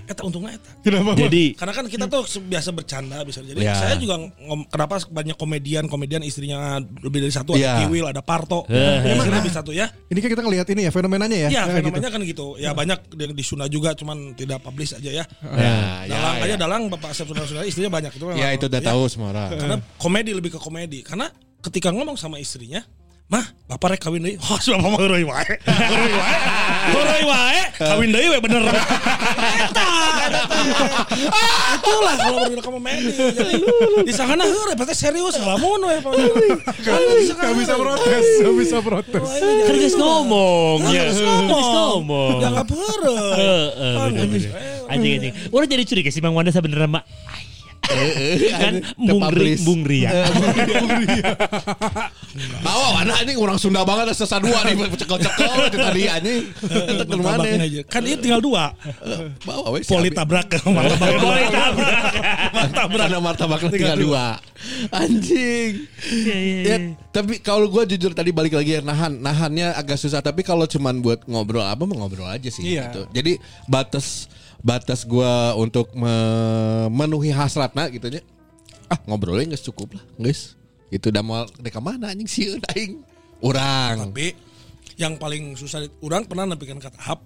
eta untungnya eta Jadi karena kan kita tuh se- biasa bercanda bisa jadi Hmm. Ya. saya juga ngom, kenapa banyak komedian komedian istrinya ah, lebih dari satu Ya. ada Kiwil ada Parto Eh. istrinya lebih satu ya ini kan kita ngelihat ini ya fenomenanya ya, ya Nah, fenomenanya kan gitu ya banyak yang di Sunda juga cuman tidak publish aja ya Ya, ya, dalang aja ya. dalang bapak asep saudara saudara istrinya banyak itu memang. Ya itu udah Ya, tahu semua orang. karena komedi lebih ke komedi karena ketika ngomong sama istrinya mah bapak rek kawin deui wah sudah mama heureuy wae heureuy wae heureuy wae kawin deui we bener eta eta teh. Ah, itulah kalau berbeda ke komedi jadi di sana heureuy pasti serius lamun we kan nggak bisa protes nggak bisa protes kan geus ngomong Kan ya. Geus geus ngomong. ngomong. Eh, jangan heureuy Heeh, bener-bener. Anjing anjing. Orang jadi curiga sih Bang Wanda sebenarnya Mbak. kan bungri Iya, publish. bungri ya. Tahu anak anjing orang Sunda banget sesa dua nih cekel-cekel tadi anjing. Entek ke Tambah gini mana? Eh, aja. kan ini tinggal dua Bawa we si poli Abi. tabrak ke martabak dua. Boleh tabrak. Martabak Karena martabaknya tinggal dua Anjing Iya, iya, iya. ya, Tapi kalau gue jujur tadi balik lagi ya Nahan Nahannya agak susah Tapi kalau cuman buat ngobrol apa mau Ngobrol aja sih Iya. gitu. Jadi batas Batas gue untuk memenuhi hasratna gitu ya Ah ngobrolnya nggak cukup lah guys Gitu udah mau Deka mana anjing sih Aing Orang tapi yang paling susah di- orang pernah nampilkan kata hap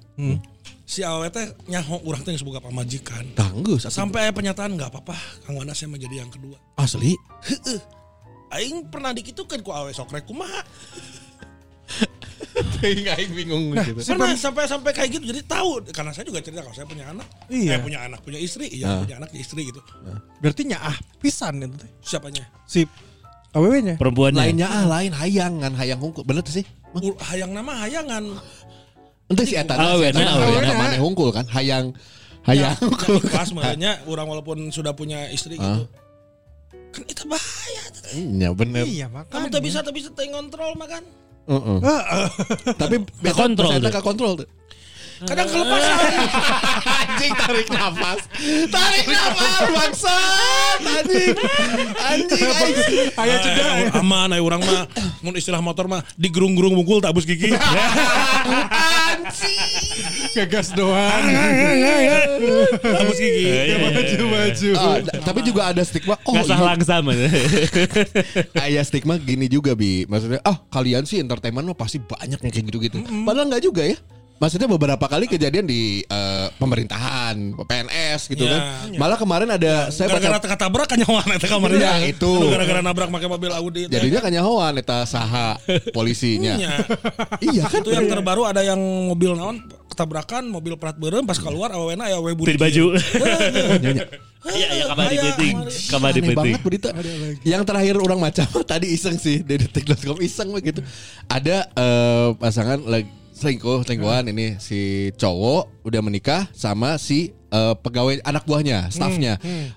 si awet teh nyaho orang teh sebagai pamajikan Tangguh satu- sampai aya pernyataan nggak apa-apa kang Wana saya menjadi yang kedua Asli Aing pernah dikitukan ku awe sokrek kumaha Aing aing bingung gitu pernah sampai sampai kayak gitu jadi tahu karena saya juga cerita kalau saya punya anak Iya. saya punya anak punya istri iya punya anak punya istri gitu berarti nyaah pisan itu teh. siapanya si aww nya Perempuannya. Lainnya ah lain kan, hayang ngan hayang hungkul bener tuh sih Ul- hayang nama hayangan. Ente si Eta. Ah, Wena, Wena. Namanya hungkul kan. Hayang. Hayang. Nah, ikhlas makanya orang walaupun sudah punya istri gitu. Kan itu bahaya. Iya bener. Iya Kamu makanya. Eh, tak bisa tak bisa tak ngontrol makan. Heeh. Tapi besok kontrol pas Eta tuh. ke kontrol tuh. Kadang kelepasan. Anjing tarik nafas. Tarik nafas bangsa. Anjing. Anjing. anjing. Ayo cedera. ya. Eh, aman ayo orang mah mun istilah motor mah digerung-gerung mukul tak bus gigi. Kegas Ya, doang. tak bus gigi. Iya, Maju-maju. Ah, d- tapi juga ada stigma. Oh, Ngasah iya. langsam. Ayah stigma gini juga bi, maksudnya ah kalian sih entertainment mah pasti banyak yang kayak gitu-gitu. Padahal nggak juga ya. Maksudnya beberapa kali kejadian di eh, pemerintahan, PNS gitu Ya. kan. Malah kemarin ada saya baca Gara-gara teka tabrak kan nyawa eta kamarnya. Iya, itu. Aduh, Gara-gara nabrak pakai mobil Audi. teh. jadinya kanyahoan eta saha polisinya. Iya. iya kan? Itu yang terbaru ada yang mobil naon ketabrakan mobil perat beureum pas keluar awena aya Di we buri. baju. Nyonya. Ah, Iya, iya kabar di Bahaya, penting. kamari. Kabar di Aneh penting. banget berita. Yang terakhir orang macam tadi iseng sih di detik.com iseng begitu. Ada eh, pasangan lagi selingkuh, selingkuhan Hmm. ini si cowok udah menikah sama si eh, pegawai anak buahnya, Hmm, stafnya. Eh,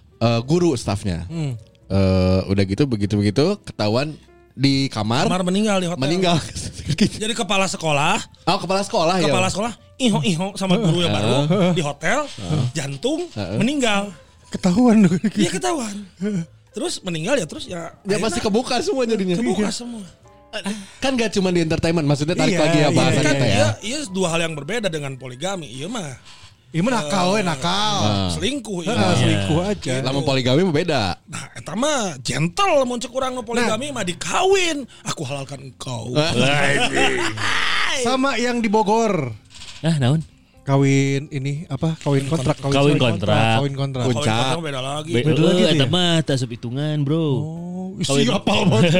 guru stafnya. Eh, udah gitu begitu begitu ketahuan di kamar, Kamar meninggal di hotel. meninggal. Jadi kepala sekolah, oh, kepala sekolah ya. kepala sekolah iho iho sama guru yang baru di hotel, jantung meninggal. Ketahuan lu. Dia ketahuan. Terus meninggal ya terus ya. Ya akhirnya pasti kebuka semua jadinya. kebuka semua. Kan gak cuma di entertainment, maksudnya tarik Iya, lagi ya iya, bahasan Tapi kan kita ya. iya, iya dua hal yang berbeda dengan poligami. Iya mah Iya mah nakal we nakal. selingkuh. Iya. Ah, Selingkuh aja. Lama poligami beda. Nah, eta mah gentle mun ceuk urang nu poligami mah dikawin. Aku halalkan engkau. Sama yang di Bogor. Ah, naon? Kawin ini apa? Kawin kontrak. Kawin kontrak. Kawin kontrak. Kawin Puncak. pertama beda lagi. Be- Beda lagi Eh, tuh eta ya? mah tak asup hitungan, Bro. Oh, Kawin- siapa banget.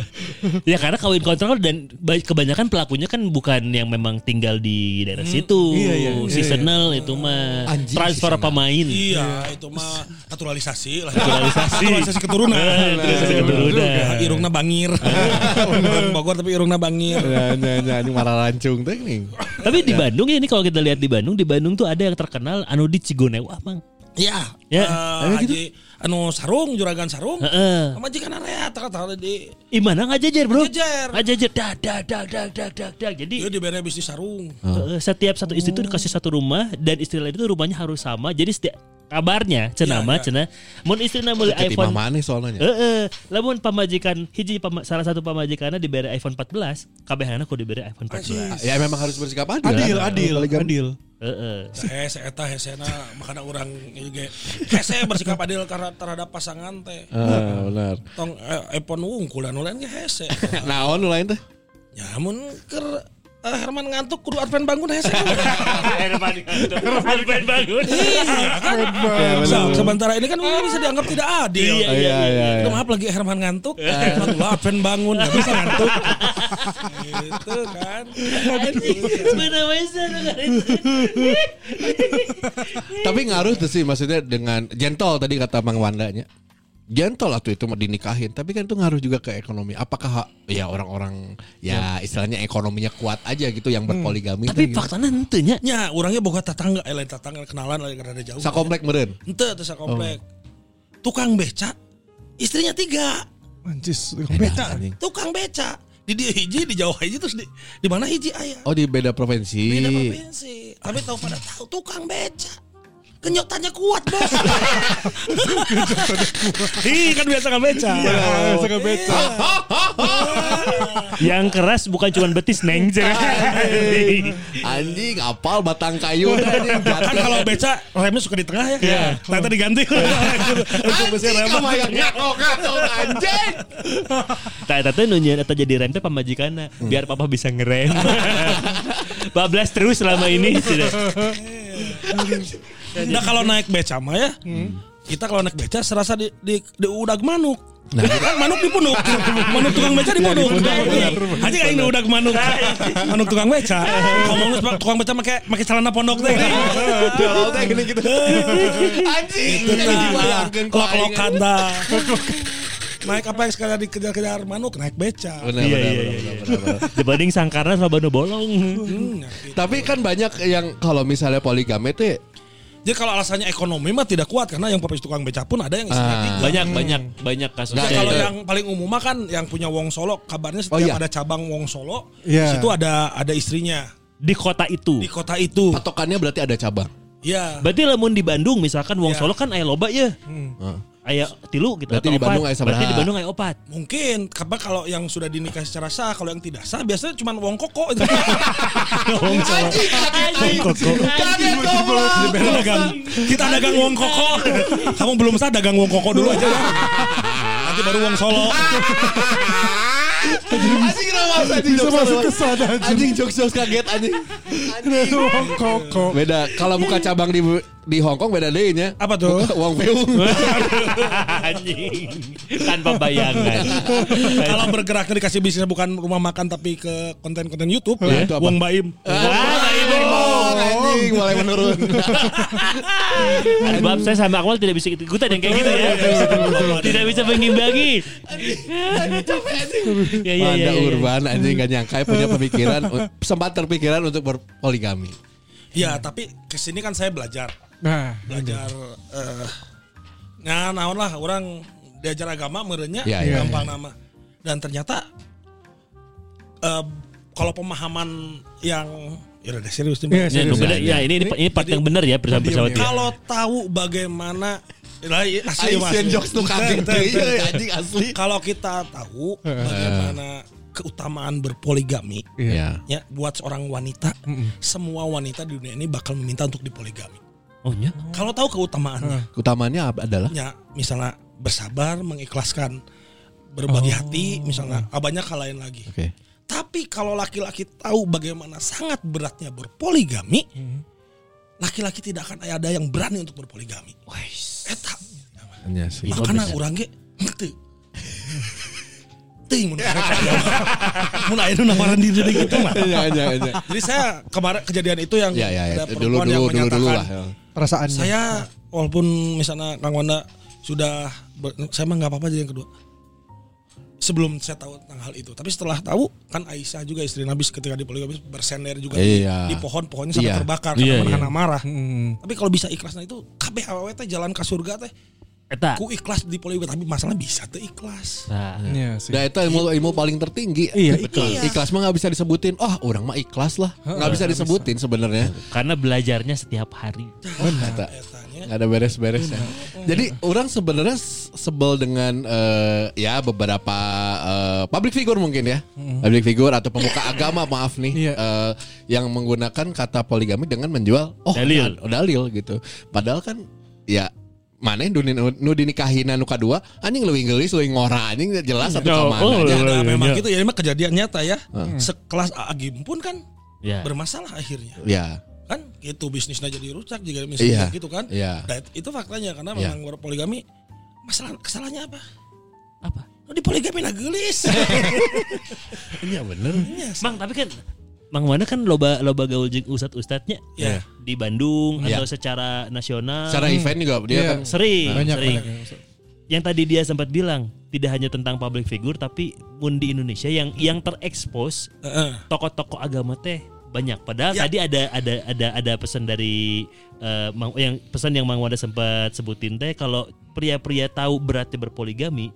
ya karena kawin kontrak dan ba- kebanyakan pelakunya kan bukan yang memang tinggal di daerah situ. iya, iya, iya, seasonal itu mah Anjing transfer seasonal. pemain. Iya, itu mah naturalisasi lah. Naturalisasi. naturalisasi keturunan. Eh, naturalisasi keturunan. Nah, irungna bangir. Orang Bogor tapi irungna bangir. Ya, ya, ya, ini marah lancung teh nih. Tapi di Bandung ya ini kalau kita lihat di Bandung, di Bandung tuh ada yang terkenal anu di Cigonewa, Mang. Iya. Ya, Eh, Haji anu sarung juragan sarung. Heeh. Sama jika narea tata di Imana ngajajar, Bro? Ngajajar. Ngajajar dak dak dak dak dak dak dak. Jadi dia dibere iya, bisnis sarung. eh, setiap satu istri itu dikasih satu rumah dan istri lain itu rumahnya harus sama. Jadi setiap kabarnya cenah mah cenah mun istrina meuli Jadi iPhone Eh, mana soalnya? Heeh, lamun pamajikan hiji pama- salah satu pamajikanna diberi iPhone 14, kabehana ku diberi iPhone 14. Ya memang harus bersikap adil. Adil, kan? adil, adil. Heeh. Hese Eh, eta hesena makanya orang ge hese bersikap adil karena terhadap pasangan teh. Ah, benar. Tong eh, epon wungkul anu lain ge hese. Nah, on lain teh. Ya mun keur eh, Herman ngantuk kudu Arven bangun hese. Herman bangun. Se- Sementara ini kan Willy bisa dianggap tidak adil. Iya, iya, iya, iya. Itu maaf lagi Herman ngantuk. Alhamdulillah Arven bangun nggak bisa ngantuk. gitu kan. Mana bisa Tapi ngaruh tuh sih maksudnya dengan gentle tadi kata Mang Wandanya. Gentle lah tuh itu mah dinikahin, tapi kan itu ngaruh juga ke ekonomi. Apakah ha- ya orang-orang ya istilahnya ekonominya kuat aja gitu yang berpoligami Tapi teh gitu. faktanya henteu nya. Ya, orangnya boga tetangga, eh lain tetangga kenalan lain karena ada jauh. Sakomplek meren. Ente tuh sakomplek. Tukang beca, istrinya tiga. Nah, Mancis, beta. Anjing. Tukang beca. Di dia hiji, di jauh hiji, terus di, di mana hiji ayah. Oh di beda provinsi. Beda provinsi. Tapi tahu pada tahu tukang beca. Kenyotannya kuat bos. Ih kan biasa nggak beca. Iya. Suka beta. Yang keras bukan cuma betis neng Anjing, apal batang kayu teh, anjing. Kan Jatuh. kalau beca remnya suka di tengah ya. Ternyata diganti. Untuk besi Anjing, rem. kamu yang ngakok-ngakok, ya. anjing. Tah eta teh nu nyieun eta jadi rem teh pamajikanna biar papa bisa ngerem. Bablas terus selama ini. Nah kalau naik beca mah ya. Kita kalau naik beca serasa di, di, di udag manuk. kan manuk di punuk. manuk tukang beca Nah, di punuk. Hanya kayak ini udag manuk. manuk tukang beca. Ngomong tukang beca pakai pakai celana pondok teh. Gitu Jauh teh gini gitu. Anjing, Itu ini dibayangkan lok-lokan dah. naik apa yang sekarang dikejar-kejar manuk naik beca Iya, Benar, benar, iya, benar, iya. benar, benar, benar. Dibanding Sangkarna Rabano bolong. Hmm, nyakit. Tapi kan banyak yang kalau misalnya poligami itu jadi kalau alasannya ekonomi mah tidak kuat karena yang pepes tukang beca pun ada yang isinya Ah. tiga. Banyak banyak banyak kasusnya. Nah, kalau itu. yang paling umum mah kan yang punya Wong Solo kabarnya setiap Iya, Oh, iya. ada cabang Wong Solo Iya. di situ ada ada istrinya Di kota itu. di kota itu. patokannya berarti ada cabang. Iya. Berarti lamun di Bandung misalkan Wong Iya. Solo kan aya loba ya. Heeh. Aya tilu gitu Berarti atau di Bandung opat. aya sabaraha. Berarti di Bandung aya opat. Mungkin karena kalau yang sudah dinikah secara sah, kalau yang tidak sah biasanya cuma wong koko itu. Wong Solo. Anjing, anjing. Kaget goblok. Kita dagang, kita dagang wong koko. Kamu belum sah dagang wong koko dulu aja. ya. Nanti baru wong solo. Anjing rawas Ah, anjing. Bisa jokes masuk ke rawas. sana anjing. Anjing jokes-jokes kaget anjing. Wong koko. Beda kalau buka cabang di di Hong Kong beda deh nya. Apa tuh? Wong Peung. Anjing. Tanpa bayangan. Kalau bergeraknya dikasih bisnis bukan rumah makan tapi ke konten-konten YouTube, Lah, itu apa? wong baim. Wah, ini Oh, anjing mulai menurun. Sebab saya sama Akmal tidak bisa ikutan yang kayak gitu ya. Tidak bisa mengimbangi. Ya Iya, ya ya. Anda ya. urban anjing Hmm. gak nyangka ya punya pemikiran sempat terpikiran untuk berpoligami. Ya tapi kesini kan saya belajar, Nah, belajar. eh nah, naon lah orang diajar agama merenya Ya, ya, gampang nama. Dan ternyata eh kalau pemahaman yang ya udah serius nih. Bang. Iya, Ini serius. bener- ya, ini ini ini part yang benar ya bersama bersama Iya. dia. Kalau tahu bagaimana Lah, iya, asli Mas. Asian jokes tuh Iya. kaget Ter- ter- ter- deh, anjing asli. Kalau kita tahu bagaimana keutamaan berpoligami Iya. ya buat seorang wanita, semua wanita di dunia ini bakal meminta untuk dipoligami. Mm. Oh ya. Kalau tahu keutamaannya, Utamanya ab- adalah ya misalnya bersabar, mengikhlaskan, Oh. berbagi hati, misalnya ah, abahnya kalahin lagi. Oke. Tapi kalau laki-laki tahu bagaimana sangat beratnya berpoligami, Hmm. laki-laki tidak akan ada yang berani untuk berpoligami. Eta. Iya sih. Makanya orang ge henteu. Teuing mun karek agama. Mun aya nu nawaran diri deui gitu mah. Iya, iya, iya. Jadi saya kemarin kejadian itu yang Ya, ya, ya. Dulu, ada perempuan dulu, yang dulu, menyatakan dulu lah. ya. perasaannya. saya walaupun misalnya Kang Wanda sudah ber- saya mah nggak apa-apa jadi yang kedua sebelum saya tahu tentang hal itu tapi setelah tahu kan Aisyah juga istri Nabi ketika di poligami bersender juga di- Iya. di, pohon pohonnya Iya. sampai terbakar Iya, karena iya. anak marah Hmm. tapi kalau bisa ikhlasnya itu kabeh awewe teh jalan ke surga teh Eta. ku ikhlas di poligami tapi masalah bisa teh ikhlas Nah, Iya sih. Nah, itu ilmu, ilmu paling tertinggi. Iya, betul. Ikhlas mah nggak bisa disebutin. Oh, orang mah ikhlas lah. Nggak bisa disebutin sebenarnya. karena belajarnya setiap hari. Kata, Etanya, nggak ada beres-beres ya. Jadi orang sebenarnya s- sebel dengan eh, ya beberapa eh, public figure mungkin ya, public figure atau pemuka agama maaf Iya. nih eh, yang menggunakan kata poligami dengan menjual oh Dalil. da- dalil gitu. Padahal kan ya mana yang duni- nu dinikahin nu kadua anjing leuwih geulis leuwih ngora anjing jelas satu Oh, sama oh, aja. ya ada Iya, memang iya. gitu ya ini mah kejadian nyata ya sekelas Agim pun kan Ya. bermasalah akhirnya Ya. kan gitu bisnisnya jadi rusak jika Iya. misalnya gitu kan Iya. Nah, itu- itu faktanya karena Iya. memang poligami masalah kesalahannya apa Apa? Lu di poligami lah gelis Iya bener. Mang tapi kan Mang mana kan loba loba gaul jeung ustad-ustadnya Iya. di Bandung Iya. atau secara nasional. Secara event juga dia Iya. kan sering, Banyak sering. banyak. Yang tadi dia sempat bilang tidak hanya tentang public figure tapi pun di Indonesia yang yang terekspos Heeh. tokoh-tokoh agama teh banyak. Padahal Ya. tadi ada ada ada ada pesan dari eh, Mang yang pesan yang Mang Wanda sempat sebutin teh kalau pria-pria tahu beratnya berpoligami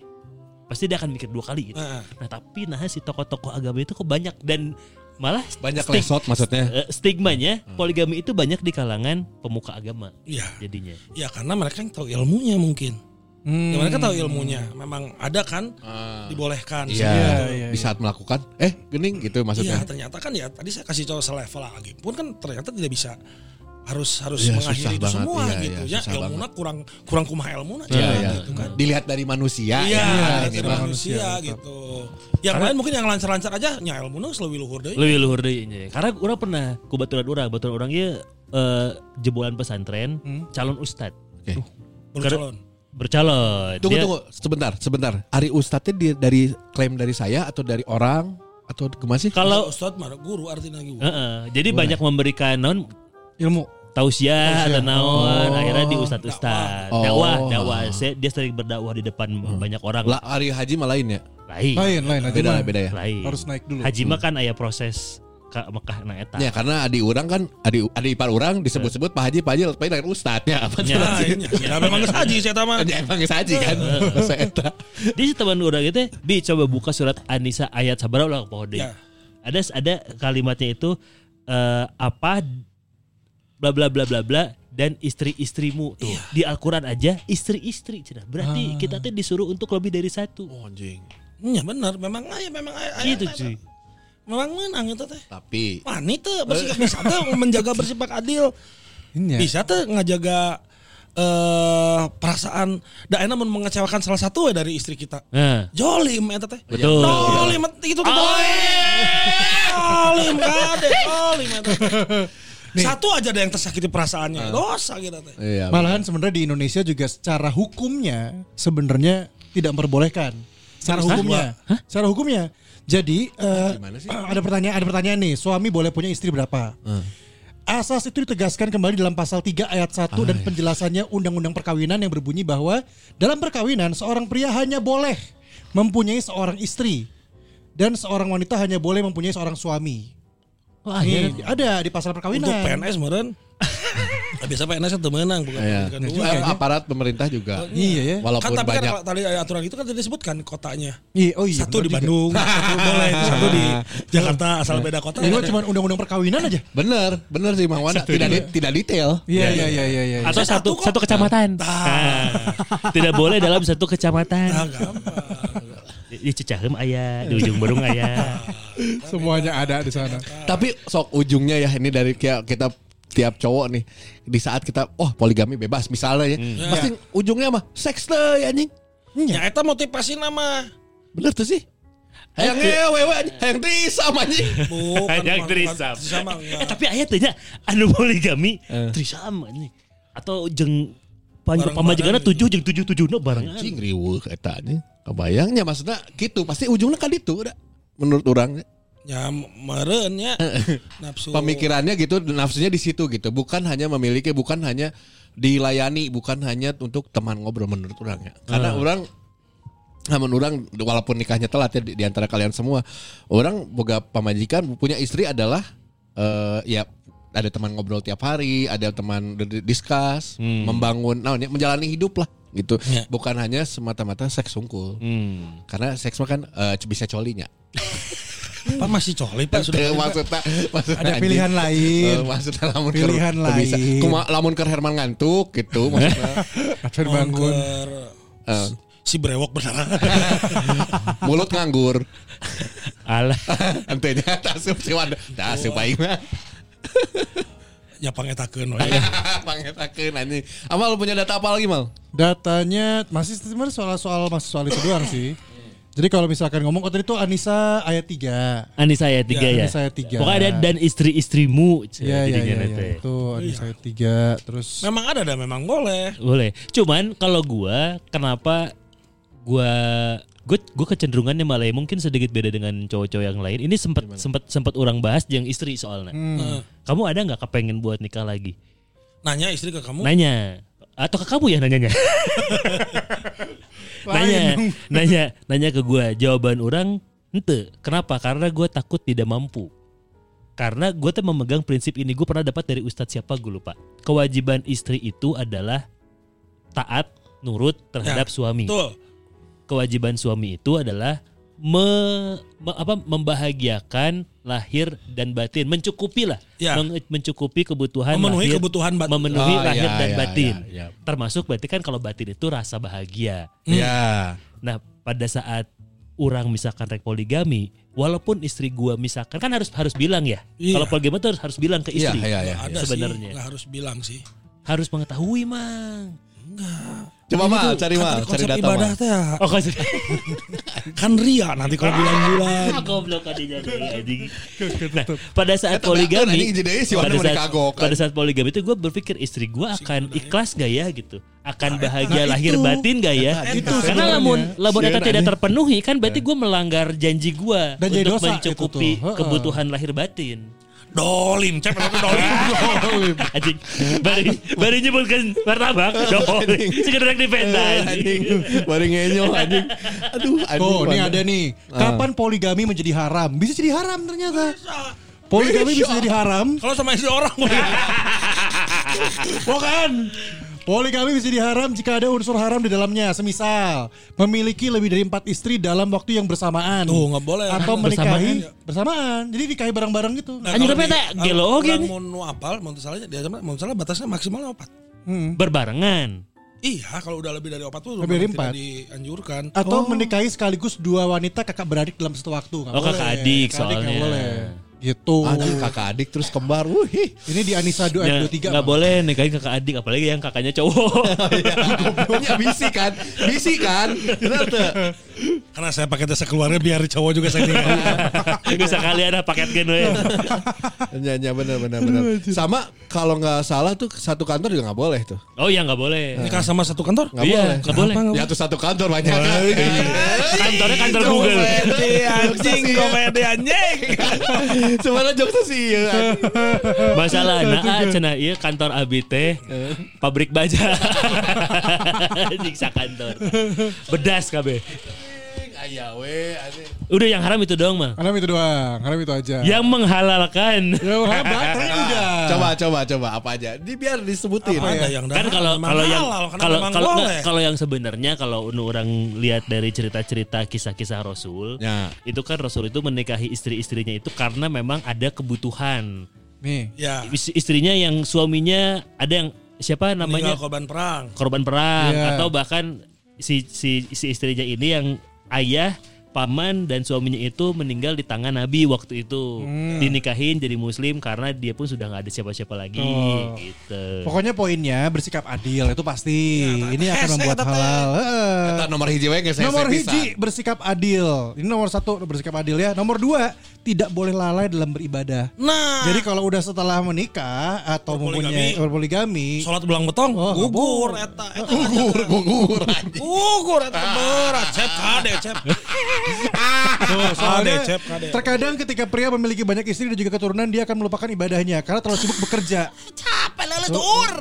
pasti dia akan mikir dua kali gitu. Heeh. Nah, tapi nah si tokoh-tokoh agama itu kok banyak dan malah banyak stig- lesot maksudnya. eh, stigmanya poligami itu banyak di kalangan pemuka agama ya jadinya. ya karena mereka yang tahu ilmunya mungkin Hmm. ya, mereka tahu ilmunya memang ada kan dibolehkan Hmm. Iya, Iya, Seperti itu. iya, di saat melakukan eh gening gitu Iya, maksudnya. ternyata kan ya tadi saya kasih contoh selevel lagi pun kan ternyata tidak bisa harus harus Iya, susah mengakhiri itu banget. semua Iya, gitu iya, ya susah ilmunya kurang kurang kumaha ilmuna Iya, jangan iya. gitu kan Dilihat dari manusia. Iya, ya, ini dari mah. manusia, gitu. Yang lain mungkin yang lancar-lancar aja, nya ilmu nu lebih luhur deh. Iya. Lebih luhur deui nya. Karena orang pernah ku baturan urang, baturan orang ieu eh, jebolan pesantren Hmm. calon ustad Oke. Baru Karena- calon. bercalon. iya. Tunggu Dia- tunggu sebentar sebentar. Ari Ustadznya dia dari klaim dari saya atau dari orang atau gimana sih? Kalau Ustadz mah guru artinya gitu. Heeh, jadi banyak memberikan non Ilmu. tausiah ada naon akhirnya di ustad ustad Oh. dakwah dakwah Se- dia sering berdakwah di depan banyak orang Lah Ari Haji malah lain ya. lain Lain lain aja Beda mah. lah beda ya. lain Harus naik dulu. haji mah kan aya proses ke Mekah na eta Ya karena adi orang kan adi adi ipar orang disebut-sebut Pak Haji Pak Haji tapi lahir ustadznya apa Ya. Nah, ini. Nah, memang geus haji saya tama. Ya emang geus haji kan. Masa eta. Jadi si teman orang itu, bi coba buka surat Anisa ayat sabara ulah pohon deui. Ya. Ada ada kalimatnya itu eh, apa bla bla bla bla bla dan istri-istrimu tuh di Al-Qur'an aja istri-istri cenah. Berarti kita tuh disuruh untuk lebih dari satu. Oh, anjing. Ya benar, memang aya memang aya. aya- Gitu aya- cuy. Memang menang itu teh. Tapi Wanita bersikap bisa teh menjaga bersikap adil. Iya. Bisa teh ngajaga eh perasaan da enak mun mengecewakan salah satu we dari istri kita. Nah, Jolim eta teh. Betul. Jolim itu tuh. Jolim kade, jolim eta teh. Satu aja ada yang tersakiti perasaannya. Dosa kita teh. iya. Malahan sebenarnya di Indonesia juga secara hukumnya sebenarnya tidak memperbolehkan. Secara hukumnya. Secara hukumnya. Jadi eh, ada pertanyaan ada pertanyaan nih, suami boleh punya istri berapa? Asas itu ditegaskan kembali dalam pasal 3 ayat 1 Ah, dan iya. penjelasannya undang-undang perkawinan yang berbunyi bahwa dalam perkawinan seorang pria hanya boleh mempunyai seorang istri dan seorang wanita hanya boleh mempunyai seorang suami. iya. Nih, ada di pasal perkawinan. Ah, iya. Untuk PNS meren. Biasa PNS itu menang bukan Iya. bukan Eh, dua. aparat pemerintah juga. Iya ya. kan Walaupun tapi kan banyak kalau tadi ada aturan itu kan tadi disebutkan kotanya. Iya, oh iya. satu benar di juga. Bandung, satu boleh, satu di Jakarta asal beda kota. Ini mah cuma undang-undang perkawinan aja. Bener, bener sih Mang Wanda. Tidak, di- tidak detail. Iya iya iya iya. iya. atau Satu satu kok. satu kecamatan. Tah. Nah, tidak boleh dalam satu Ah, kecamatan. gampang. Di di Cicaheum aya, di ujung Berung aya. Semuanya ada di sana. Tapi sok ujungnya ya ini dari kia- kita tiap cowok nih di saat kita oh poligami bebas misalnya ya pasti ujungnya mah seks tuh ya anjing Ya eta motivasi nama. bener tuh sih yang wewe anjing yang trisam anjing Bukan Yang bukan- trisam. bukan trisam, Eh enggak. tapi ayah tanya anu poligami Eh. trisam ini atau jeng panj- Bareng-bareng pamajikanna gitu. tujuh jeng tujuh tujuh bareng anjing riweuh eta anjing kebayangnya maksudnya gitu pasti ujungnya kan itu udah menurut orang Ya meren ya. Nafsu. pemikirannya gitu nafsunya di situ gitu bukan hanya memiliki bukan hanya dilayani bukan hanya untuk teman ngobrol menurut orang ya Ah. karena orang namun orang walaupun nikahnya telat ya di, di antara kalian semua orang boga pamajikan punya istri adalah eh, ya ada teman ngobrol tiap hari ada teman di- di- discuss membangun nah, menjalani hidup lah gitu Hmm. Ya. bukan hanya semata-mata seks sungkul Hmm. karena seks mah kan eh, bisa colinya Apa masih coli Pak Eh, sudah. maksudnya, maksudnya Ada anjing. pilihan lain. Eh, maksudnya lamun keur- Pilihan teu bisa. lain. Kuma lamun keur Herman ngantuk gitu maksudnya. Akhir bangun. Ongker. Eh, Si brewok beneran. mulut nganggur. Alah Antenya tasup si Wanda. Tasup aing mah. Ya pangetakeun we. Iya. Pangetakeun anjing. Amal punya data apa lagi, Mal? Hmm. Datanya masih sebenarnya soal-soal masih soal itu doang sih. Jadi kalau misalkan ngomong oh tadi itu Anissa ayat 3. Anissa ayat tiga ya, Ya, Anissa ayat tiga. pokoknya ada dan istri istrimu Iya iya iya. Ya, itu Anissa ayat 3 terus Memang ada dah memang boleh. boleh cuman kalau gua kenapa gua gue gue kecenderungannya malah ya mungkin sedikit beda dengan cowok-cowok yang lain ini sempat sempat sempat orang bahas yang istri soalnya Hmm. kamu ada nggak kepengen buat nikah lagi Eh, Nanya istri ke kamu. nanya atau ke kamu ya nanyanya nanya nanya nanya ke gue jawaban orang ente kenapa karena gue takut tidak mampu karena gue tuh memegang prinsip ini gue pernah dapat dari ustadz siapa gue lupa kewajiban istri itu adalah taat nurut terhadap suami Betul. kewajiban suami itu adalah me- me- apa, membahagiakan lahir dan batin mencukupi lah Ya. Meng- mencukupi kebutuhan Memenuhi lahir, kebutuhan batin. memenuhi Ah, lahir ya, dan ya, batin ya, ya. termasuk berarti kan kalau batin itu rasa bahagia Ya. nah pada saat orang misalkan rek poligami walaupun istri gua misalkan kan harus harus bilang ya Iya. kalau poligami itu harus harus bilang ke Iya, istri iya, iya. Ada Sebenarnya. sih. nggak harus bilang sih. harus mengetahui mang Coba Mal cari Kan Mal, cari tadi konsep data ibadah Mal. teh ya. oh kan kan ria nanti kalau bulan-bulan. Ah, goblok adinya, anjing. Nah, pada saat Eh, Eta bener, kan anjing, poligami jadi si Wanda pada meni saat, kagok, kan. pada saat poligami itu gue berpikir istri gue akan ikhlas gak ya gitu akan bahagia Nah, itu. Nah, lahir batin gak ya Itu karena sebenarnya. Nah. lamun lamun eta Sian, tidak anjing. terpenuhi kan berarti gue melanggar janji gue Dan jadi untuk dosa itu mencukupi tuh. Heeh. kebutuhan lahir batin Dolim, cep tapi dolim. Dolim. anjing baru baru nyebutkan martabak doling sekedar di Eh, penda anjing anjing baru ngenyol anjing aduh aduh Oh, ini mana. ada nih. Kapan poligami menjadi haram? Bisa jadi haram ternyata. Poligami bisa jadi haram. Kalau sama istri orang gue. Bukan. Poligami bisa diharam jika ada unsur haram di dalamnya, semisal memiliki lebih dari empat istri dalam waktu yang bersamaan. Tuh, nggak boleh. Atau menikahi Bersamaan ya. bersamaan. Jadi nikahi bareng-bareng gitu. "Nah, Anjing, tapi tak gelo oge nih. Mau nu apal, mau salah dia sama mau salah batasnya maksimal opat. Hmm. berbarengan Iya, kalau udah lebih dari opat tuh Lebih dari memang empat. Ah. tidak dianjurkan. Atau menikahi sekaligus dua wanita kakak beradik dalam satu waktu. nggak Oh, boleh. kakak adik Kakak nggak soalnya. boleh. Gitu. Aduh, kakak adik terus kembar wuhih Ini di Anissa 2 ayat Ya, 23. nggak Bang. boleh nikahin kakak adik apalagi yang kakaknya cowok Gobloknya bisi kan Bisi kan Bener tuh. Karena saya pakai jasa keluarga biar cowok juga saya tinggal. Iya. Gak usah kali ada paket gen we. Ya, ya, bener bener bener Sama kalau nggak salah tuh Satu kantor juga nggak boleh tuh Oh iya nggak boleh Nikah sama satu kantor? Nggak Iya, boleh nggak boleh. Ya tuh satu kantor banyak kan Kantornya kantor Google Komedi anjing ya. Komedi anjing Sebenarnya jokesnya sih iya, anjing. Masalah nah ah, cenah ieu kantor abi teh pabrik baja. Siksa kantor. Bedas kabeh. Ayah weh anjing. Udah yang haram itu doang mah. Haram itu doang. Haram itu aja. Iya. Yang menghalalkan. Ya, haram banget, ternyata udah. Coba coba coba apa aja Di biar disebutin Iya. Ada yang Kan kalau Nah, memang kalau yang halal, karena kalau memang kalau boleh. enggak, kalau yang sebenarnya kalau nu orang lihat dari cerita-cerita kisah-kisah Rasul, Ya. itu kan Rasul itu menikahi istri-istrinya itu karena memang ada kebutuhan. Nih. ya Is- Istrinya yang suaminya ada yang siapa namanya meninggal korban perang. korban perang Iya. atau bahkan si si si istrinya ini yang ayah paman dan suaminya itu meninggal di tangan Nabi waktu itu Hmm. dinikahin jadi muslim karena dia pun sudah nggak ada siapa-siapa lagi Oh. gitu. Pokoknya poinnya bersikap adil itu pasti. Iya, Ini akan Hashtag membuat teteh. halal. Heeh. Eta nomor hiji wae geus hese Nomor pisan. hiji bersikap adil. Ini nomor satu bersikap adil ya. Nomor dua tidak boleh lalai dalam beribadah. Nah, Jadi kalau udah setelah menikah atau mempunyai Berpoligami. berpoligami, sholat belang betong, Oh, gugur nggak eta, eta gugur, gugur anjing. gugur eta berat, cep kade, cep. Tuh, soalnya Kade, Cep, kade. terkadang ketika pria memiliki banyak istri dan juga keturunan dia akan melupakan ibadahnya karena terlalu sibuk bekerja. Capek lelet ur.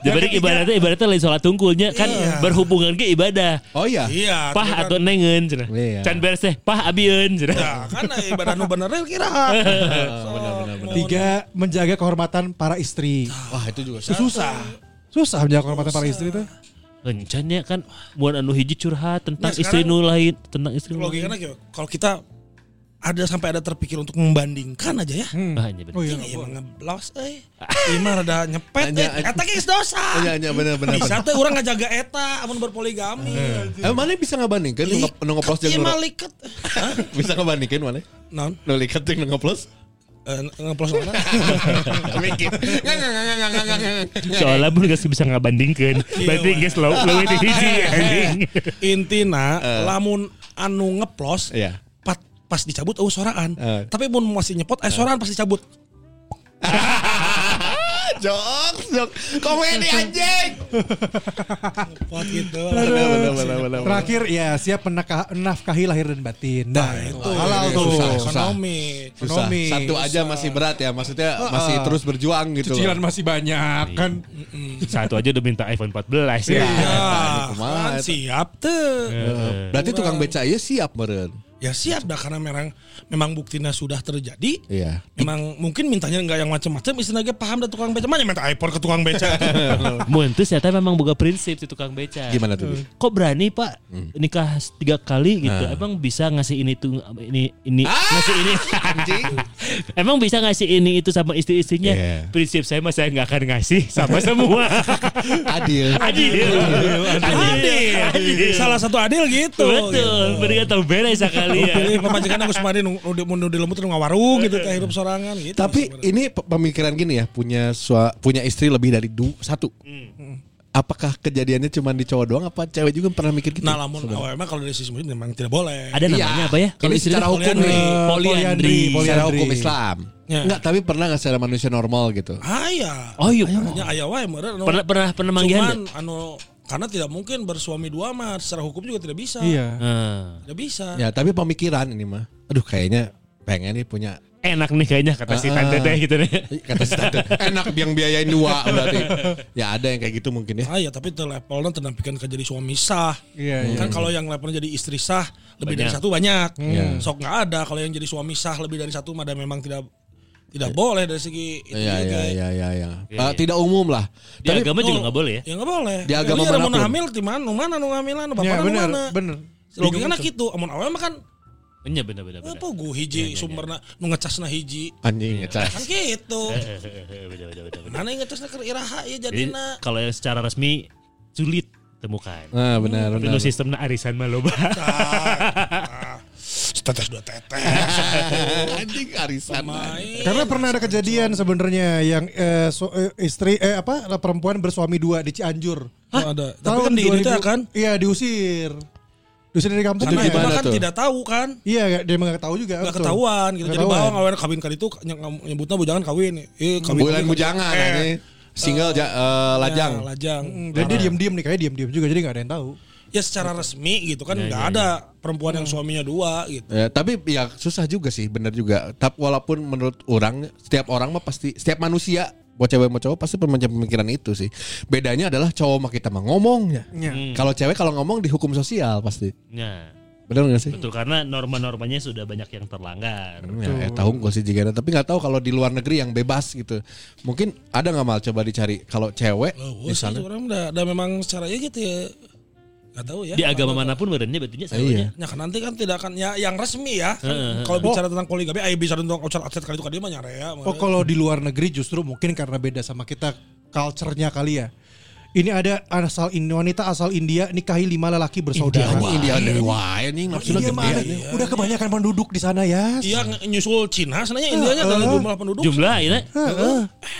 Jadi ibaratnya ibaratnya lain sholat tungkulnya kan Iya. berhubungan ke ibadah. Oh iya. Iya, Pah tapi kan- atau nengen cenah. Iya. Can beres teh pah abieun Iya. Ya, cenah. kan ibadah nu bener kira. Tiga menjaga kehormatan para istri. Wah itu juga Itu susah. Susah menjaga kehormatan para istri itu. Encannya kan buat anu hiji curhat tentang Nah, Iya, istri sekarang- nu lain, tentang istri nu kan lain. Logikanya gitu. Kalau kita ada sampai ada terpikir untuk membandingkan aja ya. Ah, iya bener. Oh iya. Ini emang ngeblos euy. Ini mah rada nyepet Anya, euy. Eta geus dosa. Iya iya bener bener. Bisa teh urang ngajaga eta amun berpoligami. Eh mana bisa ngebandingkeun nu nge- nu ngeplos Ieu jeung nu mah ro- liket. Bisa ngebandingkeun mana? Naon? Nu liket jeung nu ngeplos. Eh, Ngeplos mana? Mikir. Ngang, ngang, ngang, ngang, ngang, ngang. Soalnya pun gak bisa ngabandingkan Berarti Iya, guys lo Lo ini hiji anjing Intina lamun anu ngeplos Eh. Iya. pat- pas dicabut eueuh soraan. Eh. Tapi mun masih nyepot eh soraan pas dicabut. Ah, Jokes, jokes. Komedi anjing. Pot gitu. Bener bener bener bener. Terakhir ya siap menaka- menafkahi lahir dan batin. Nah, itu. Halal Ini tuh. susah, susah. Ekonomi. Susah. Ekonomi. Satu aja masih berat ya, maksudnya masih terus berjuang gitu. loh. Cicilan masih banyak Iya. kan. Satu aja udah minta iPhone 14 ya Ya, Tadi Iya. kumaha kan eta. siap tuh. Berarti tukang beca iya siap meren. Ya siap dah karena memang memang buktinya sudah terjadi. Iya. Memang mungkin mintanya nggak yang macam-macam, istilahnya paham dah tukang beca. Mana minta iPhone ke tukang beca? Muntus ternyata memang boga prinsip si tukang beca Gimana Hmm. tuh? Bi? Kok berani pak nikah tiga kali Nah. gitu Emang bisa ngasih ini tuh Ini ini Ah! ngasih ini Anjing. Emang bisa ngasih ini itu sama istri-istrinya Iya. Prinsip saya mah saya gak akan ngasih sama semua Adil. Adil adil. Adil. Salah satu adil gitu. Iya. Iya. Betul Berikan tahu beres sekali ya Jadi pemajikan aku semari nu nu di nu di lembut nu ngawarung gitu teh hidup sorangan gitu. Tapi ini pe- pemikiran gini ya, punya sua, punya istri lebih dari du, satu. Apakah kejadiannya cuma di cowok doang apa cewek juga pernah mikir gitu? nah lamun awalnya kalau dari sisi muslim memang tidak boleh. Ada namanya apa ya? Kalau istri itu? secara hukum poliandri. nih, Eh, poliandri. secara poliandri. hukum Islam. Ya. Enggak, tapi pernah nggak secara manusia normal gitu? Aya. Oh iya Ya aya wae meureun anu- Pernah pernah pernah manggihan Cuman anu Karena tidak mungkin bersuami dua mah secara hukum juga tidak bisa. Iya. Ah. Tidak bisa. Ya tapi pemikiran ini mah. Aduh kayaknya pengen nih punya Eh, Enak nih kayaknya kata si tante teh gitu nih. kata si tante enak yang biayain dua berarti ya ada yang kayak gitu mungkin ya Ah ya tapi itu levelnya terdampikan ke jadi suami sah. Iya, iya. Kan kalau yang levelnya jadi istri sah lebih dari Banyak. satu banyak. Hmm, Iya. Sok nggak ada kalau yang jadi suami sah lebih dari satu mah ada memang tidak tidak boleh dari segi itu ya gitu juga. ya ya ya, ya. Eh, tidak umum lah Di agama juga Oh, nggak boleh ya. Ya nggak boleh. Di agama Lu ya mau manapun. hamil di mana? Nu mana nu ngamilan? Bapak Ya nu benar, mana? benar. Logikana gitu, amun awal mah kan Iya benar benar benar. apa gue hiji sumberna nu ngecasna hiji. anjing Kan ngecas gitu. Benar benar Eh, benar. Iya. benar. Mana yang ngecasna keur iraha ya Jadi jadina. kalau yang secara resmi sulit temukan. nah benar Tapi benar nu sistemnya arisan mah loba. Tetes dua tetes. anjing arisan Main. Karena pernah ada kejadian sebenarnya yang eh, su- eh, istri eh apa perempuan bersuami dua di Cianjur. Oh, ada. Tapi kan di itu 2000 kan. Iya diusir, diusir dari kampung. Karena Itu itu gimana mah kan tuh? tidak tahu kan. Iya dia emang nggak tahu juga. Gak betul. ketahuan gitu. Jadi Ketahuan. bawang awen kawin kali itu ny- nyebutnya bujangan kawin. Eh, kawin. bulan bujangan Eh, ini single ja- eh, ya, lajang lajang. Dan dia diem-diem nih kayak diem-diem juga jadi nggak ada yang tahu. Ya secara resmi gitu Ya, kan nggak ada perempuan Hmm. yang suaminya dua gitu. Ya, tapi ya susah juga sih, bener juga. Tapi walaupun menurut orang, setiap orang mah pasti, setiap manusia, mau cewek mau cowok pasti punya pemikiran itu sih. Bedanya adalah cowok mah kita mah ngomongnya. Kalau cewek kalau ngomong dihukum sosial pasti. Nah, Bener gak sih? betul karena norma-normanya sudah banyak yang terlanggar. Ya, eh, tahu gue sih jigana, tapi nggak tahu kalau di luar negeri yang bebas gitu. Mungkin ada nggak mal coba dicari kalau cewek Oh, di sih, sana. orang udah, udah memang secara ya gitu ya. Gak tahu ya. Di agama manapun badannya betulnya sama Iya. aja. Ya kan nanti kan tidak akan ya yang resmi ya. Kan Heeh, Oh. Kalau bicara tentang poligami, ayo bicara tentang ocar atlet kali itu kan dia mah nyarea. Oh kalau di luar negeri justru mungkin karena beda sama kita culture-nya kali ya. Ini ada asal in- wanita asal India nikahi lima lelaki Dia bersaudara. Ya, ini India dari wah ini India nafsunya gede mana? anjing. Udah kebanyakan penduduk di sana ya. ya. Iya nge- nyusul Cina, sebenarnya India nya dari jumlah penduduk Jumlah ya. ini Heeh.